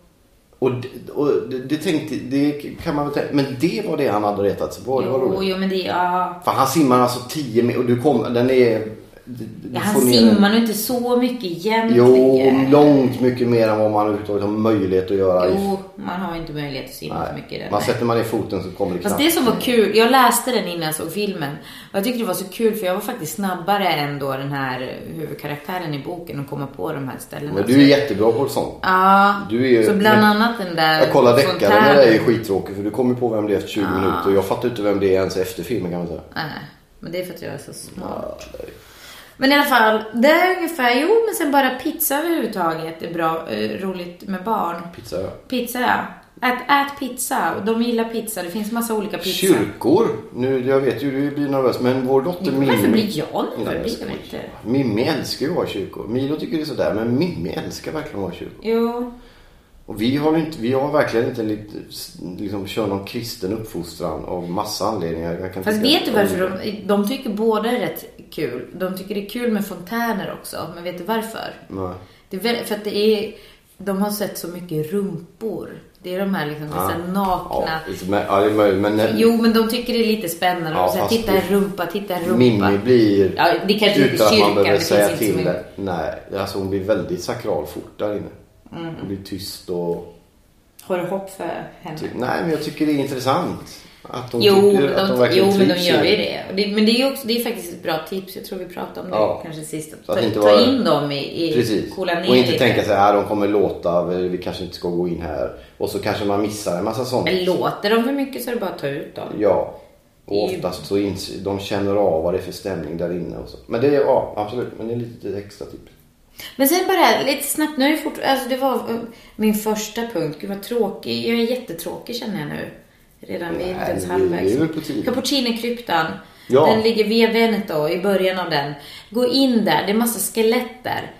Och, d- och det, det, tänkte, det kan man väl tänka, men det var det han hade retat sig på. Det var Jo, roligt. jo, men det ja. För han simmar alltså 10 meter och du kommer, den är... du- du ja får han ner den. simmar nog inte så mycket egentligen. Jo, långt mycket mer än vad man överhuvudtaget har möjlighet att göra i Jo, man Man har inte möjlighet att simma så mycket i den. Man Nej. sätter man ner foten så kommer det Fast knappt. det som var kul, jag läste den innan jag såg filmen. Och jag tyckte det var så kul för jag var faktiskt snabbare än då den här huvudkaraktären i boken och komma på de här ställena. Men du är jättebra på sånt. Ja, Du är ju- så bland annat den där Jag kollar deckare med dig är fontänen. ju skittråkig för du kommer på vem det är efter 20 Ah. minuter. Jag fattar inte vem det är ens efter filmen kan man säga. Nej, men det är för att jag är så smart. Men i alla fall, det är ungefär, jo men sen bara pizza överhuvudtaget är bra, eh, roligt med barn. Pizza ja. Pizza ja. Ät, ät pizza, Och de gillar pizza, det finns massa olika pizza. Kyrkor. Nu, jag vet ju du blir nervös men vår dotter Mimmi. Varför blir jag nervös? Nej, jag Det skojar. vet inte. Mimmi älskar ju att vara i kyrkor. Milo tycker det är sådär men Mimmi älskar verkligen att vara i kyrkor. Jo, och Och vi har, ju inte, vi har verkligen inte lite, liksom, kör någon kristen uppfostran av massa anledningar. Jag kan Fast tycka vet du att- varför de, de tycker båda är rätt kul? De tycker det är kul med fontäner också, men vet du varför? Nej. Det är väl, för att det är, de har sett så mycket rumpor. Det är de här liksom, Ja. så här nakna. Ah. Ja, lite mer- ja, det är möjligt. Men när Jo, men de tycker det är lite spännande. Ja, de säger, fast titta en det- rumpa, titta en rumpa. Mimmi blir... Ja, det kanske inte är utan att man kyrkan. behöver Det finns säga inte så till mycket. det. Nej, alltså hon blir väldigt sakral fort där inne. Mm. Hon blir tyst och... Har du hopp för henne? Ty... Typ, Nej, men jag tycker det är intressant. Att hon Jo, tycker, men att hon de, verkligen jo, men de trivs i gör ju det. det. Och det. Men det är, ju också, det är faktiskt ett bra tips. Jag tror vi pratade om det Ja. kanske sist. Så Ta, att inte ta vara- in dem i, i Precis. kolla ner Och inte lite. tänka sig här "Ah, de kommer låta, vi kanske inte ska gå in här. Och så kanske man missar en massa sånt. Men låter de för mycket så är det bara att ta ut dem. Ja. Det Och är ju- oftast så ins- de känner av vad det är för stämning där inne. Och så. Men det är, ja, absolut. Men det är lite extra tips. Men sen bara lite snabbt, nu är det fort, alltså det var eh, min första punkt. Gud vad tråkig, jag är jättetråkig känner jag nu. Redan vi är inte Nej, ens men vi- vi är väl på halvvägs. tiden. Cappuccinikryptan. Ja. Den ligger via Veneto i början av den. Gå in där, det är massa skelett där.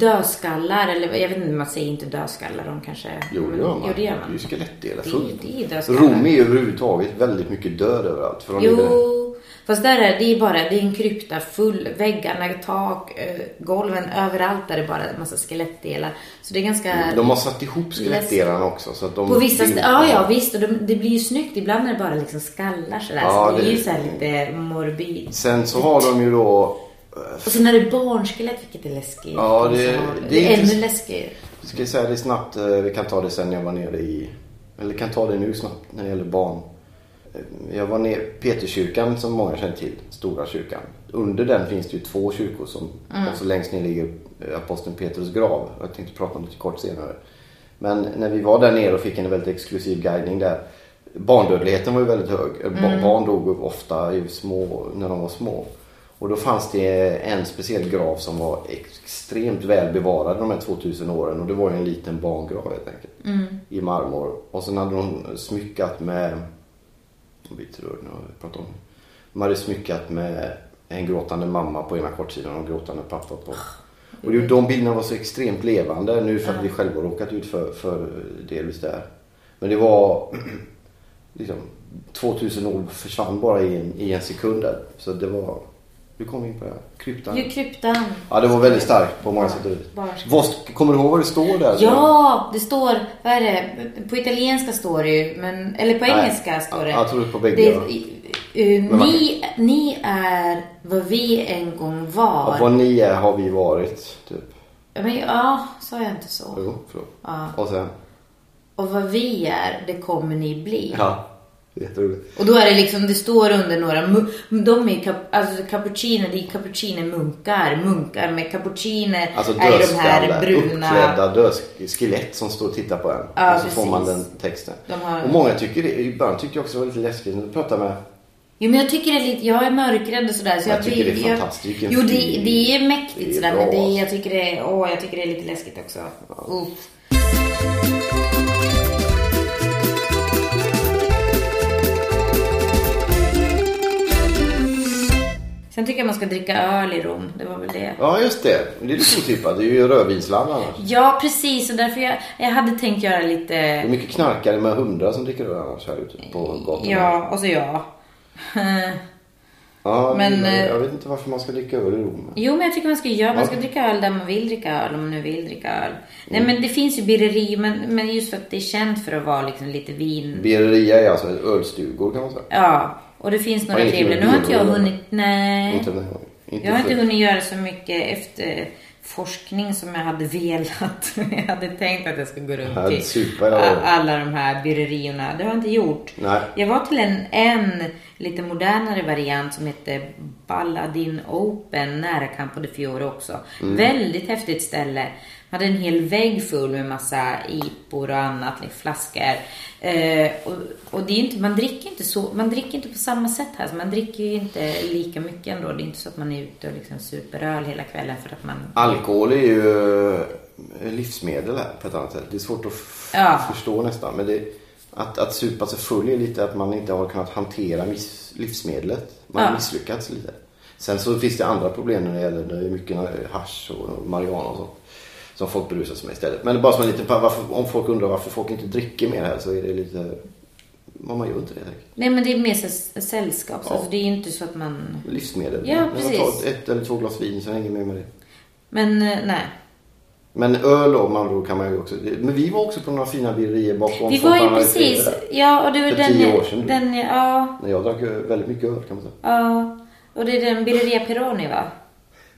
Dödskallar, eller jag vet inte, man säger inte dödskallar, de kanske... Jo, det gör man. Jo, det gör är ju man. skelettdelar. Det är- fullt. det är ju dödskallar. Rom är ju överhuvudtaget väldigt mycket död överallt. För de är döda. Jo, fast där är det är bara, det är en krypta full, väggarna, tak, eh, golven, överallt där det är bara en massa skelettdelar. Så det är ganska... Mm, de har satt ihop skelettdelarna också. Så att de På vissa vill- ställen, ja ja visst, och de, det blir ju snyggt. Ibland är det bara liksom skallar sådär. Ja, så det, det- är ju såhär lite morbid. Sen så har de ju då... eh, Och sen är det barnskelett, vilket är läskigt. Ja, det- Så- det är det är intress- ännu läskigare. Ska jag säga det snabbt? eh, Vi kan ta det sen när jag var nere i... Eller kan ta det nu snabbt när det gäller barn. Eh, Jag var nere Peterkyrkan som många känner till. Stora kyrkan. Under den finns det ju två kyrkor som... Och så längst ner ligger eh, aposteln Petrus grav. Jag tänkte prata om det lite kort senare. Men när vi var där nere och fick en väldigt exklusiv guidning där. Barndödligheten var ju väldigt hög. Eh, ba- Barn dog ju ofta i små, när de var små. Och då fanns det en speciell grav som var extremt väl bevarad de här 2000 åren och det var ju en liten barngrav helt enkelt. Mm. I marmor. Och sen hade de smyckat med, jag blir lite rörd när jag pratar om det. De hade smyckat med en gråtande mamma på ena kortsidan och en gråtande pappa på. Och det- de bilderna var så extremt levande nu för att vi själva råkat ut för, för delvis där. Men det var liksom, 2000 år försvann bara i en, i en sekund där. Så det var... Hur kom vi in på det här? Kryptan? Ju kryptan. Ja, det var väldigt starkt på många sätt och vis. Barnskelett. Vad- Kommer du ihåg vad det står där? Ja, det står, vad är det? På italienska står det ju, men, eller på Nej, engelska står det. jag- jag tror det är på bägge, Det, ja. eh, Men man- ni, ni är vad vi en gång var. Ja, Vad ni är har vi varit, typ. Men, ja, sa jag inte så? Jo, förlåt. Och sen? Och vad vi är, det kommer ni bli. Ja, det är jätteroligt. Och då är det liksom, det står under några, mu- de är kap, alltså cappuccino, det är cappuccino-munkar, munkar med cappuccino Alltså är ju de dödskallar, här bruna. uppklädda döds- skelett som står och tittar på en. Ja, och så får precis. man den texten. De har- Och många tycker det, i början tyckte jag också det var lite läskigt. När du pratar med Jo men jag tycker det är lite, jag är mörkrädd och sådär. Så Jag jag tycker det är blir- jag, fantastiskt. Vilken Jo det, fin- det är mäktigt det är sådär, bra, men det, är- alltså. jag tycker det är, åh jag tycker det är lite läskigt också. Uff. Sen tycker jag man ska dricka öl i Rom, det var väl det. Ja, just det. Det är lite otippat. Det är ju rödvinsland annars. Ja, precis. Och därför jag, jag hade tänkt göra Det lite... är mycket knarkare med hundar som dricker öl annars här ute på gatorna. Ja, och så jag. Ja, Men, men, eh, jag vet inte varför man ska dricka öl i Rom. Jo, men jag tycker man ska göra. Man ska dricka öl där man vill dricka öl, om man nu vill dricka öl. Nej, men det finns ju birreri, men, men just för att det är känt för att vara liksom lite vin. Birreria är alltså ölstugor kan man säga. Ja, och det finns några Har ingenting trevliga. Nu med har inte jag birreri att göra? hunnit... Nej. Inte, inte Jag har inte för- hunnit göra så mycket efter... forskning som jag hade velat. jag hade tänkt att jag skulle gå Ja, runt det till super, ja. a- alla de här byrerierna. Det har jag inte gjort. Nej. Jag var till en, en lite modernare variant som hette Balladin Open nära Campo de Fiore också. Mm. Väldigt häftigt ställe. Man hade en hel vägg full med massa ipor och annat, liksom flaskor. Eh, och, och det är inte, man, dricker inte så, man dricker inte på samma sätt här. Så man dricker ju inte lika mycket ändå. Det är inte så att man är ute och liksom super öl hela kvällen för att man Alkohol är ju eh, livsmedel här på ett annat sätt. Det är svårt att f- Ja. förstå nästan. Men det, att, att supa sig full är lite att man inte har kunnat hantera miss, livsmedlet. Man har Ja. misslyckats lite. Sen så finns det andra problem när det gäller det är mycket hasch och marijuana och sånt. Som folk berusar sig med istället. Men bara som en liten, varför, om folk undrar varför folk inte dricker mer här så är det lite... Man gör inte det direkt. Nej men det är mer så s- sällskap. Ja. Alltså, det är ju inte så att man... Livsmedel. Ja, Man precis. tar ett, ett eller två glas vin, sen hänger man med det. Men eh, nej. Men öl om man då kan man ju också. Men vi var också på några fina birerier bakom Vi var ju Fontanarets precis... där. Ja, och det var För den... tio år sedan. Den, ja, Nej, Jag drack ju väldigt mycket öl kan man säga. ja. Och det är den Birreria Peroni va?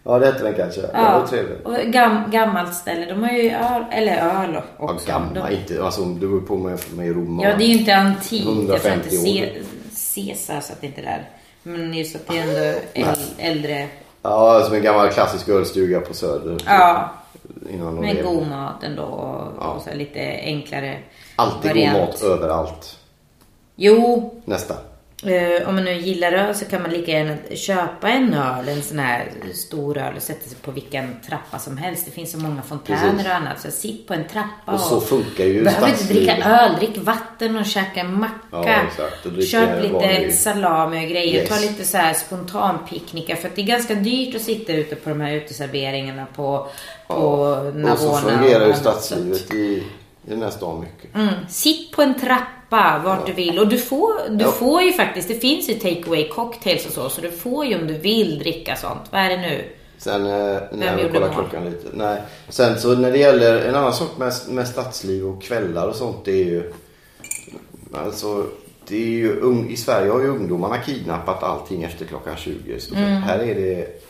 Ja, det hette den kanske. Det var trevligt. Och gam, gammalt ställe. De har ju öl, eller öl Ja, också. gamla De, inte. Alltså det beror på med, med Rom och- ja, det är ju inte antikt. Jag får 150 inte se, Caesar satt inte där. Men just att det är ändå äl, äldre. Ja, som en gammal klassisk ölstuga på Söder. Ja. Innan de Med rev. god mat ändå och, och så här lite enklare Alltid variant. god mat överallt. Jo, Nästa. Eh, om man nu gillar öl så kan man lika gärna köpa en öl, en sån här stor öl och sätta sig på vilken trappa som helst. Det finns så många fontäner Precis. och annat. Så sitt på en trappa Och så funkar ju Behöver inte stadslivet. dricka öl, drick vatten och käka en macka. Ja, exakt. Och dricka Köp lite vanlig- salami och grejer. Yes. Ta lite så här spontanpicknickar. För att det är ganska dyrt att sitta ute på de här uteserveringarna på, på Navona. Och så fungerar ju annat. stadslivet i, i den här stan mycket. Mm. Sitt på en trappa vart du vill. Och du får, du Ja. får ju faktiskt, det finns ju takeaway cocktails och så, så du får ju om du vill dricka sånt. Vad är det nu? Sen eh, när vi gjorde kollar mål? klockan lite. Nej. Sen så när det gäller en annan sak med, med stadsliv och kvällar och sånt det är ju. Alltså det är ju ung, i Sverige har ju ungdomarna kidnappat allting efter klockan 20. i stort sett. Mm. Här är det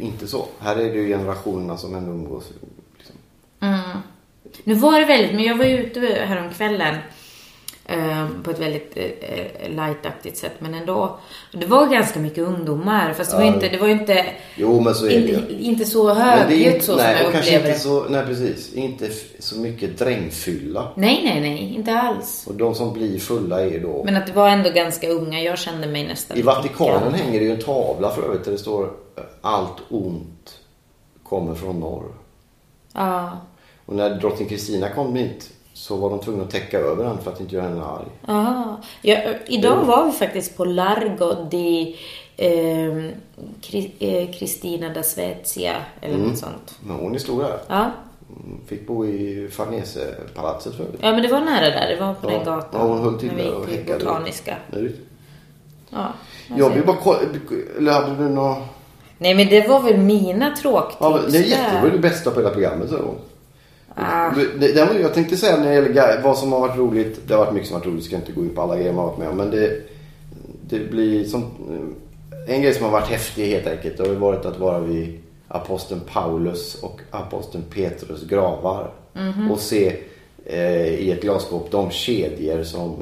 inte så. Här är det ju generationerna som ändå umgås. Liksom. Nu var det väldigt, men jag var ju ute häromkvällen eh, på ett väldigt eh, eh, lightaktigt sätt, men ändå. Det var ganska mycket ungdomar, fast det var ju inte, det var ju inte, Jo men så är det ju. inte, inte så Men det är högljutt inte, så som nej, jag och kanske upplever inte det. så, nej precis. Inte f- så mycket drängfylla. Nej, nej, nej, inte alls. Och de som blir fulla är då Men att det var ändå ganska unga, jag kände mig nästan I lite Vatikanen gammal. hänger det ju en tavla för övrigt där det står eh, allt ont kommer från norr. Ja. Och när drottning Kristina kom hit så var de tvungna att täcka över den för att inte göra henne arg. Aha. Ja, ö, idag var vi faktiskt på Largo di ehm, Kri- eh, Cristina da Svezia eller Mm. något sånt. Men hon är stor där. Ja. Hon Fick bo i Farnesepalatset för övrigt. ja, men det var nära där. Det var på den Ja. gatan. Ja, hon höll till när där och vi gick i häckade. Botaniska. Nu. Ja. Jag vill bara kolla, eller hade du någon... Nej, men det var väl mina tråktips Ja, men det är jättebra, det är där. det bästa på hela programmet så. Det, det, var- jag tänkte säga när det gäller ga- vad som har varit roligt. Det har varit mycket som har varit roligt. Ska inte gå in på alla grejer man har varit med om. Men det, det blir som... eh, En grej som har varit häftig helt enkelt. Det har ju varit att vara vid aposteln Paulus och aposteln Petrus gravar. Mhm. Och se eh, i ett glasskåp de kedjor som eh,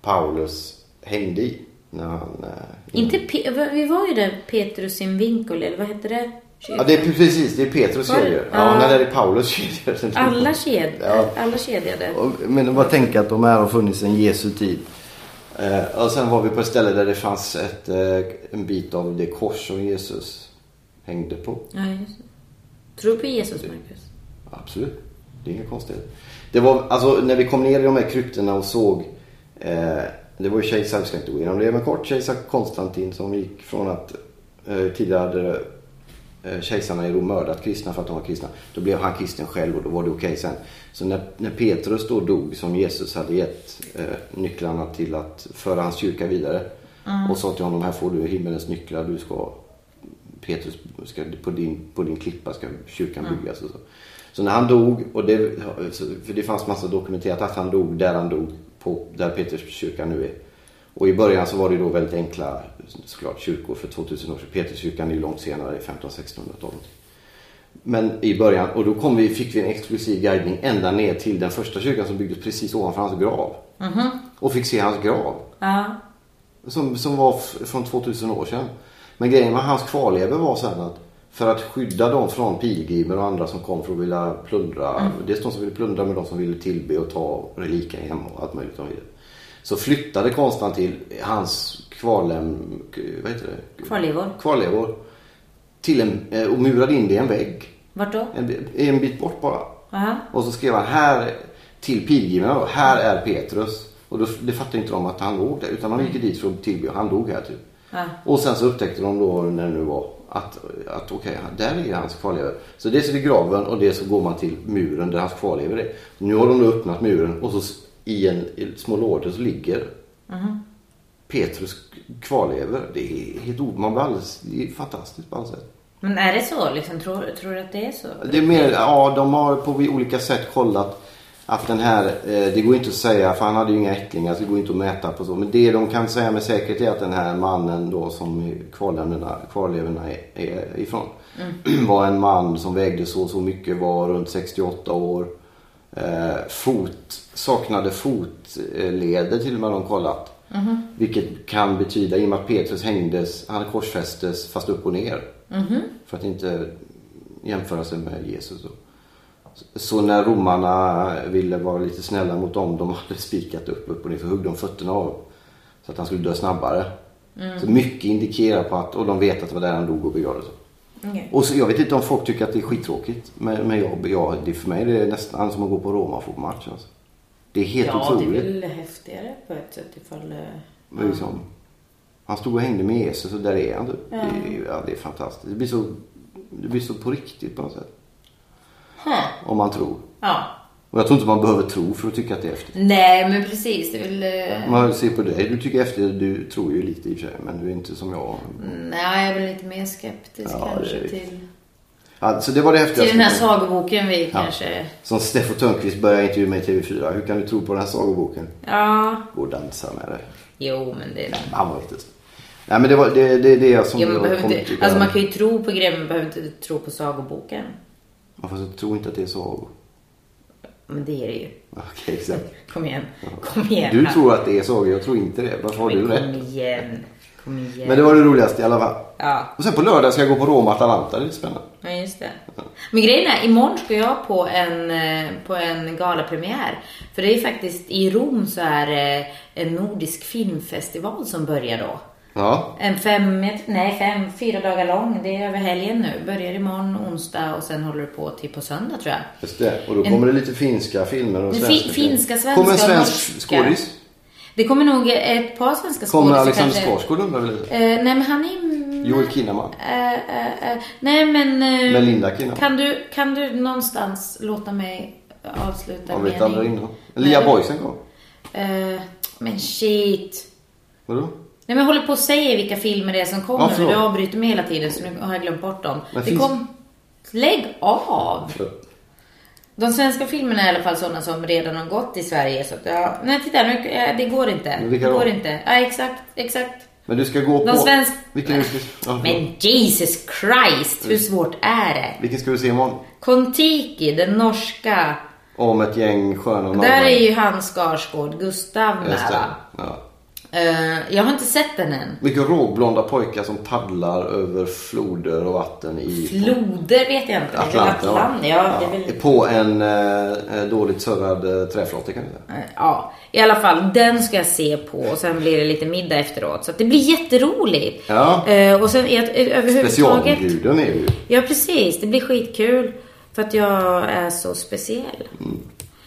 Paulus hängde i. När han, eh, Inte Pe- va- vi var ju där Petrus Invincol, eller vad hette det? Ja, det är precis. Det är Petrus Var det? kedjor. Ja, Ja. nej, det är Paulus kedjor. Alla, ked... Ja. Alla kedjade. Och- Men bara tänka att de här har funnits sedan Jesu tid. Eh, och sen var vi på ett ställe där det fanns ett, eh, en bit av det kors som Jesus hängde på. Ja, just det. Tror du på Jesus, Marcus? Absolut. Det är inga konstigheter. Det var, alltså när vi kom ner i de här kryptorna och såg eh, det var ju kejsar, vi ska inte gå igenom det, men kort kejsar Konstantin som gick från att eh, tidigare hade eh, kejsarna i Rom mördat kristna för att de var kristna. Då blev han kristen själv och då var det okej sen. Så när, när Petrus då dog som Jesus hade gett eh, nycklarna till att föra hans kyrka vidare och sa till honom här får du himmelens nycklar, du ska Petrus, ska, på, din, på din klippa ska kyrkan byggas och så. Så när han dog, och det, så- för det fanns massa dokumenterat att han dog där han dog, på, där Petrus kyrka nu är. Och i början så var det ju då väldigt enkla såklart kyrkor för 2000 år sedan. Peterskyrkan är ju långt senare, 1500-1600-talet. Men i början, och då kom vi, fick vi en exklusiv guidning ända ner till den första kyrkan som byggdes precis ovanför hans grav. Och fick se hans grav. Ja. Som, som var f- från 2000 år sedan. Men grejen med hans kvarlevor var sen att för att skydda dem från pilgrimer och andra som kom för att vilja plundra. Dels de som ville plundra men de som ville tillbe och ta reliker hem och allt möjligt de ville. Så flyttade konstnären till hans kvarlem... Vad heter det? Kvarlevor. Kvarlevor. Till en, eh, och murade in det i en vägg. Vart då? En, bi- en bit bort bara. Aha. Och så skrev han här till pilgrimerna då, här är Petrus. Och då, det fattade inte de att han låg där utan de gick dit för att tillbe och han dog här typ. Ja. Och sen så upptäckte de då när det nu var att, att okej, där är hans kvarlevor. Så dels är det graven och dels så går man till muren där hans kvarlevor är. Nu har de då öppnat muren och så s- i en i små lådor så ligger Petrus kvarlevor. Det är helt o- man blir alldeles, det är fantastiskt på alla sätt. Men är det så liksom? Tror, tror du att det är så? Det är mer, ja de har på olika sätt kollat att den här, eh, det går inte att säga för han hade ju inga ättlingar så det går inte att mäta på så. Men det de kan säga med säkerhet är att den här mannen då som kvarlevorna, kvarlevorna är, är ifrån. Var en man som vägde så och så mycket, var runt 68 år. Eh, fot, saknade fotleder till och med har de kollat. Vilket kan betyda, i och med att Petrus hängdes, han korsfästes fast upp och ner. Mhm. För att inte jämföra sig med Jesus. Då. Så när romarna ville vara lite snälla mot dem, de hade spikat upp, upp och ner, så högg de fötterna av. Så att han skulle dö snabbare. Så mycket indikerar på att, och de vet att det var där han dog och begravdes. Okej. Och så, jag vet inte om folk tycker att det är skittråkigt. Men, men jag, jag, det, för mig det är det nästan som att gå på Roma-fotbollsmatch. Alltså. Det är helt ja, otroligt. det är väl häftigare på ett sätt ifall... eh, Men liksom, han stod och hängde med Jesus och där är han. typ. Det, är- ja, det är fantastiskt. Det blir, så, det blir så på riktigt på något sätt. Huh. Om man tror. Ja. Och jag tror inte man behöver tro för att tycka att det är häftigt. Nej, men precis. Det är väl... eh, Om Man ser på dig. Du tycker efter, du tror ju lite i och för sig. Men du är inte som jag. Nej, jag är väl lite mer skeptisk Ja, kanske det är- till... Alltså, det var det häftigaste. Till den här sagoboken vi Ja. kanske... Som Steffo Törnqvist började intervjua mig i TV4. Hur kan du tro på den här sagoboken? Ja. Gå och dansa med dig. Jo, men det... Han var inte så. Nej men det var det, det, det är jag som Jo, man, jag behöver kom inte, till- alltså man kan ju tro på grejer men behöver inte tro på sagoboken. Ja, fast jag tror inte att det är så. Men det är det ju. Okej, exakt. Kom igen. Kom igen. Du här. tror att det är så, jag tror inte det. Varför har du Men kom rätt? igen. Kom igen. Men det var det roligaste i alla fall. Ja, Och sen på lördag ska jag gå på Roma-Atalanta, det är lite spännande. ja, just det. Men grejen är, imorgon ska jag på en, eh, på en galapremiär. För det är faktiskt, i Rom så är det en nordisk filmfestival som börjar då. Ja, En fem, nej fem, fyra dagar lång. Det är över helgen nu. Börjar imorgon onsdag och sen håller det på till på söndag tror jag. just det. Och då kommer det lite finska filmer och Fin- svenska filmer. finska, svenska Kommer en och svensk norska. skådis? Det kommer nog ett par svenska Kommer skådisar Alexander kanske. Skarsgård undrar vi lite? Eh, nej men han är... mm, Joel Kinnaman? eh, eh, eh, nej men... eh, Melinda Kinnaman? Kan du, kan du någonstans låta mig avsluta Jag vet mening? aldrig innan. Lia Nej. Boysen kom. Eh, men shit. Vadå? Nej men jag håller på att säga vilka filmer det är som kommer. Ja, men förlåt. du avbryter mig hela tiden så nu har jag glömt bort dem. Men det finns- kom... Lägg av! De svenska filmerna är i alla fall sådana som redan har gått i Sverige. Så att, ja, nej titta nu, eh, det går inte. Men Det vilka då? går inte. Ja exakt, exakt. Men du ska gå på... Någon svensk- Vilken, ska... Ja, Men Jesus Christ, hur svårt är det? vilken ska du se imorgon? Kontiki, den norska. Om ett gäng sköna Där norrmän. är ju han Skarsgård, Gustav Just med det. va? Ja. Eh, jag har inte sett den än. Mycket råblonda pojkar som paddlar över floder och vatten i Floder vet jag inte. Atlanten. Atlanten. Ja, det är väl... På en eh, dåligt surrad eh, träflotte kan vi säga. Eh, Ja, i alla fall den ska jag se på och sen blir det lite middag efteråt. Så att det blir jätteroligt. Ja. Eh, och sen är jag, eh, överhuvudtaget. Specialguden är ju. Ja, precis. Det blir skitkul. För att jag är så speciell.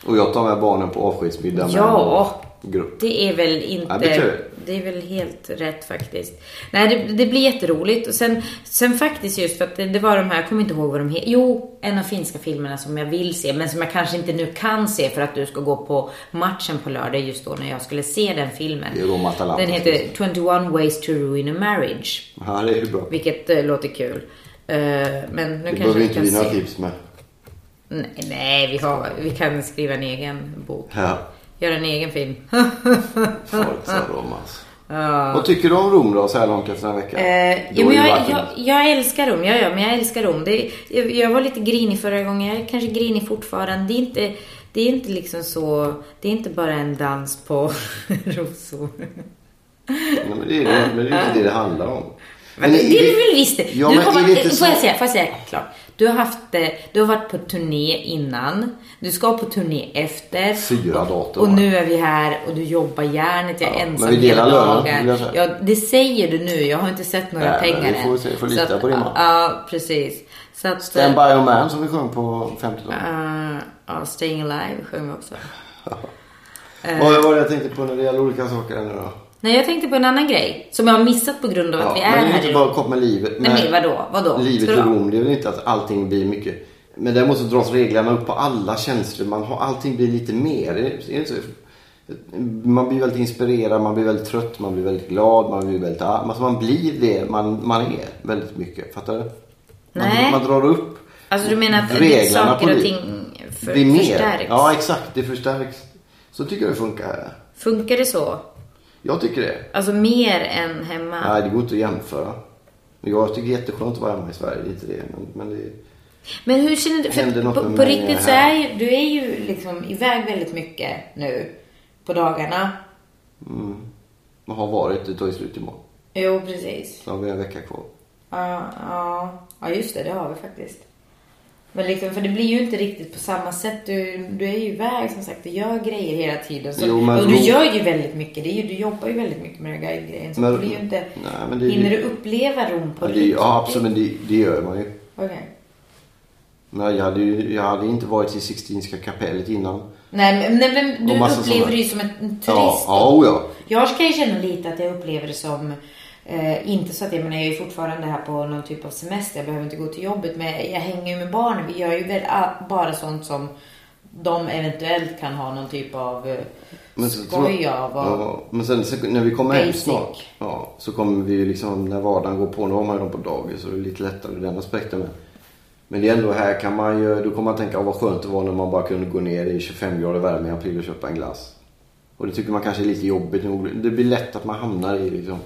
Och jag tar med barnen på avskedsmiddag med Ja. en grupp. Det är väl Ja, det tror jag. inte... Det är väl helt rätt faktiskt. Nej, det, det blir jätteroligt. Och sen, sen faktiskt just för att det, det var de här, jag kommer inte ihåg vad de heter. Jo, en av finska filmerna som jag vill se, men som jag kanske inte nu kan se för att du ska gå på matchen på lördag just då när jag skulle se den filmen. Det är Roma Atalanta, Den heter 21 ways to ruin a marriage. Ja, det är ju bra. Vilket eh, låter kul. Eh, men nu Det kanske behöver vi inte kan vi några se. tips med. Nej, nej vi, har, vi kan skriva en egen bok. Ja. Göra en egen film. Forza Roma. tillsammans. Vad tycker du om Rom då så här långt efter en vecka? Eh, Du ja, har men ju jag, varit jag, jag älskar Rom, jag gör, men jag älskar Rom. Det, jag, jag var lite grinig förra gången, jag är kanske grinig fortfarande. Det är inte, det är inte liksom så, det är inte bara en dans på rosor. Nej, men det, är, det- men det är inte det det handlar om. Men det, är det är det väl visst det. Ja, du men har är varit, det inte så... får, jag säga, får jag säga klart? Du har, haft, eh, du har varit på turné innan. Du ska på turné efter. Fyra dator. Och nu är vi här och du jobbar järnet. Jag är Ja, ensam men vi delar hela lönen, dagen. vill jag säga. Ja, det säger du nu. Jag har inte sett några Nej, men pengar vi får se, får lita Så att- på din man. Ja, precis. Så att, Stand by your man som vi sjöng på 50-talet. eh, ja, Staying Alive sjöng vi också. eh. Vad var det jag tänkte på när det gäller olika saker här nu då? Nej, jag tänkte på en annan grej. Som jag har missat på grund av att Ja, vi är men det är här inte i bara kopp med livet. Nej, men vadå? Vadå? Livet Ska i du ha? Rom, det är väl inte att allting blir mycket. Men däremot så dras reglerna upp på alla tjänster. Man har, allting blir lite mer. Det är- det är inte så- Man blir väldigt inspirerad, man blir väldigt trött, man blir väldigt glad, man blir väldigt arg. Alltså man blir det man, man är väldigt mycket. Fattar du? Nej. Man, man drar upp Alltså du menar att reglerna det- saker på och liv. ting för, blir mer. förstärks? Ja, exakt. Det förstärks. Så tycker jag det funkar här. Funkar det så? Jag tycker det. Alltså mer än hemma? Nej, det går inte att jämföra. Men jag tycker det är jätteskönt att vara hemma i Sverige. Det är inte det. Men, men det Men hur känner du? Händer För något på, med på mig riktigt så här? är ju- du är ju liksom iväg väldigt mycket nu på dagarna. Man Mm. har varit, det tar ju slut imorgon. Jo, precis. Så har vi en vecka kvar. Ja, ja. ja just det, det har vi faktiskt. Men liksom, för det blir ju inte riktigt på samma sätt. Du, du är ju iväg som sagt, du gör grejer hela tiden. Så, Jo, men och du Rom- gör ju väldigt mycket. Det är ju, du jobbar ju väldigt mycket med den här guidegrejen. Så Men- det blir ju inte... nej, men det är ju- hinner du uppleva Rom på Ja, det, riktigt? ja absolut, men det, det gör man ju. Okej. Men jag hade ju jag hade inte varit i Sixtinska kapellet innan. Nej, men, nej, men du Och massa upplever sådana. det ju som en turist. Ja, ja, oh ja. Jag ska ju känna lite att jag upplever det som, eh, inte så att jag menar jag är ju fortfarande här på någon typ av semester, jag behöver inte gå till jobbet, men jag hänger ju med barnen. Vi gör ju väl a- bara sånt som de eventuellt kan ha någon typ av eh, Men så tror skoj jag- av. och- ja, Men sen så, när vi kommer hem Basic. snart. Ja, så kommer vi ju liksom när vardagen går på. Nu har man ju dem på dagis så det är lite lättare ur den aspekten. Men, men det är ändå här kan man ju, då kommer man tänka "Åh, vad skönt det var när man bara kunde gå ner i 25 grader värme i april och köpa en glass. Och det tycker man kanske är lite jobbigt. nu. Det blir lätt att man hamnar i liksom.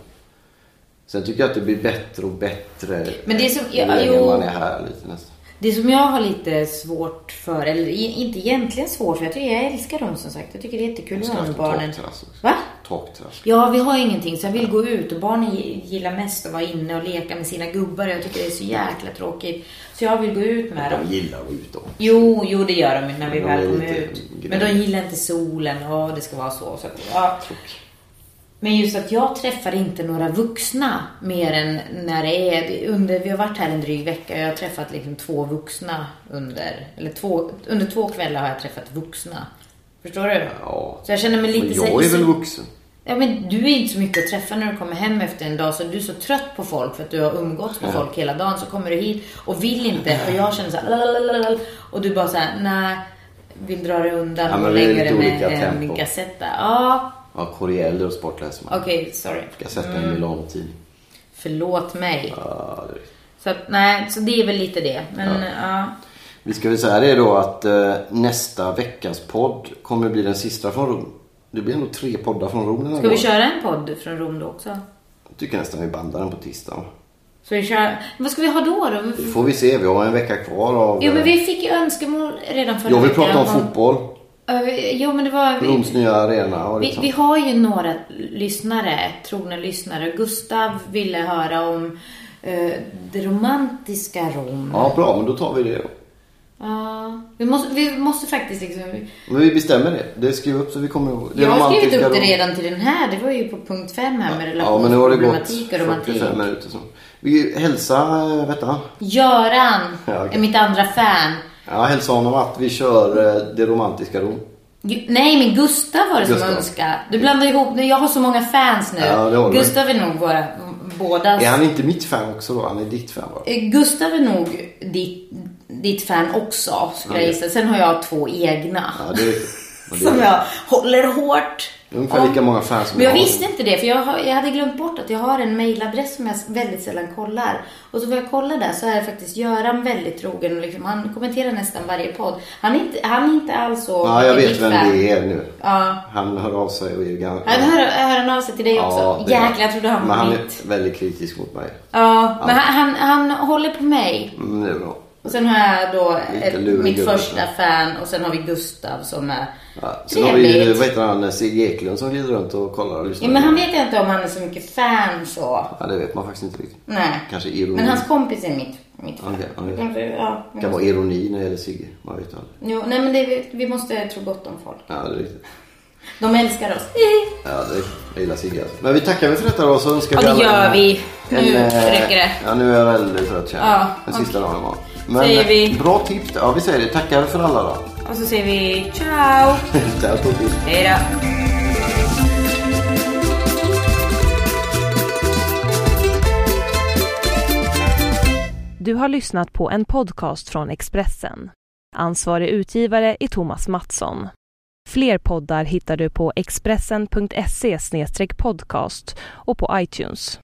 Sen tycker jag att det blir bättre och bättre. Men det är som- ju ja, längre jo. man är här lite nästan. Det som jag har lite svårt för, eller i- inte egentligen svårt för, jag, tycker, jag älskar dem som sagt. Jag tycker det är jättekul Vi att ska vara ha med en barnen. takterrass också. Va? Takterrass. Ja, vi har ingenting så jag vill gå ut och barnen gi- gillar mest att vara inne och leka med sina gubbar. Jag tycker det är så jäkla tråkigt. Så jag vill gå ut med dem. De gillar att vara ute också. Jo, jo det gör de ju när vi De väl är kommer lite ut. grä. Men de gillar inte solen och det ska vara så. så att, ja. Men just att jag träffar inte några vuxna mer än när det är under, vi har varit här en dryg vecka och jag har träffat liksom två vuxna under, eller två, under två kvällar har jag träffat vuxna. Förstår du? Ja. Så jag känner mig lite Men så här jag är väl iso- vuxen. Ja, men du är inte så mycket att träffa när du kommer hem efter en dag. Så du är så trött på folk för att du har umgåtts med folk hela dagen. Så kommer du hit och vill inte. Och jag känner så här, "Lalalala", Och du bara så här, nej. Vill dra dig undan Ja, men och vi är lägga dig lite med olika en tempo. Gazzetta. Ja, Ja, Corriello och Sport läser man. okej, Mm. sorry. Jag ska sätta en Milano-tidning. Förlåt mig. Ja, det är- Så att, nej, så det är väl lite det. Men ja. Vi ska väl säga det då att eh, nästa veckas podd kommer bli den sista från Rom. Det blir nog tre poddar från Rom den här Ska vi gången. köra en podd från Rom då också? Jag tycker nästan vi bandar den på tisdag. Så vi kör... Vad ska vi ha då? då? Det får vi se. Vi har en vecka kvar av... eh, Jo, men vi fick ju önskemål redan förra jag vill veckan prata om fotboll. Ja, vi- Jo, men det var... Roms nya arena och Vi, liksom. vi har ju några lyssnare, trogna lyssnare. Gustav ville höra om eh, det romantiska Rom. Ja. Ja, bra. Men då tar vi det då. vi, måste, vi måste faktiskt liksom... Men vi bestämmer det. Det skriver vi upp så vi kommer ihåg. Jag har skrivit romantiska upp det Rom. redan till den här. Det var ju på punkt fem här med Ja, men nu har det gått relationsproblematik och romantik. 45 minuter. Så. Vi hälsa, eh, vet du? Göran Ja, okej. är mitt andra fan. Ja, hälsa honom att vi kör eh, det romantiska Rom. Ju- Nej, men Gustav var det Gustav. som önskade. Du blandar ihop nu. Jag har så många fans nu. Ja, det har du. Gustav är nog våra bådas... Är han inte mitt fan också då? Han är ditt fan bara. Eh, Gustav är nog ditt, ditt fan också, skulle jag gissa. Sen har jag två egna. Ja, det är Som jag håller hårt. Det är ungefär lika många fans som Men jag har. visste inte det, för jag, har, jag hade glömt bort att jag har en mailadress som jag väldigt sällan kollar. Och så får jag kolla där så är faktiskt Göran väldigt trogen. och Liksom, han kommenterar nästan varje podd. Han är inte, han är inte alls så... Ja, jag vet vem fan. det är nu. Ja. Han hör av sig och är ganska... Han hör, hör han av sig till dig också? det- Jäklar, jag trodde han Men var han mitt. är väldigt kritisk mot mig. Ja, men han, han, han håller på mig. Mm, det är bra. Och sen har jag då Lite ett, lurig mitt gubbe. första fan och sen har vi Gustav som är Ja. Sen har vi ju, trevligt. vad heter han, Sigge Eklund som glider runt och kollar och lyssnar. Ja, men han vet jag inte om han är så mycket fan så. Ja, det vet man faktiskt inte riktigt. Nej. Kanske ironi. Men hans kompis är mitt, mitt fan. Okej, ja, ja. Kanske, ja, Det men- kan vara ironi när det gäller Sigge. Man vet aldrig. Jo, nej men det, vi- vi måste tro gott om folk. Ja, det är riktigt. De älskar oss. Ja, det är riktigt. Jag gillar Sigge alltså. Men vi tackar väl för detta då så önskar Ja, det vi alla gör en- vi. Nu eh, räcker det. Ja, nu är jag väldigt trött känner jag. Ja, Den sista dagen var. eh, Säger vi- bra tips. Ja, vi säger det. Tackar för alla då. Och så säger vi ciao. Där tog vi. Hej då. Du har lyssnat på en podcast från Expressen. Ansvarig utgivare är Thomas Mattsson. Fler poddar hittar du på expressen.se podcast och på iTunes.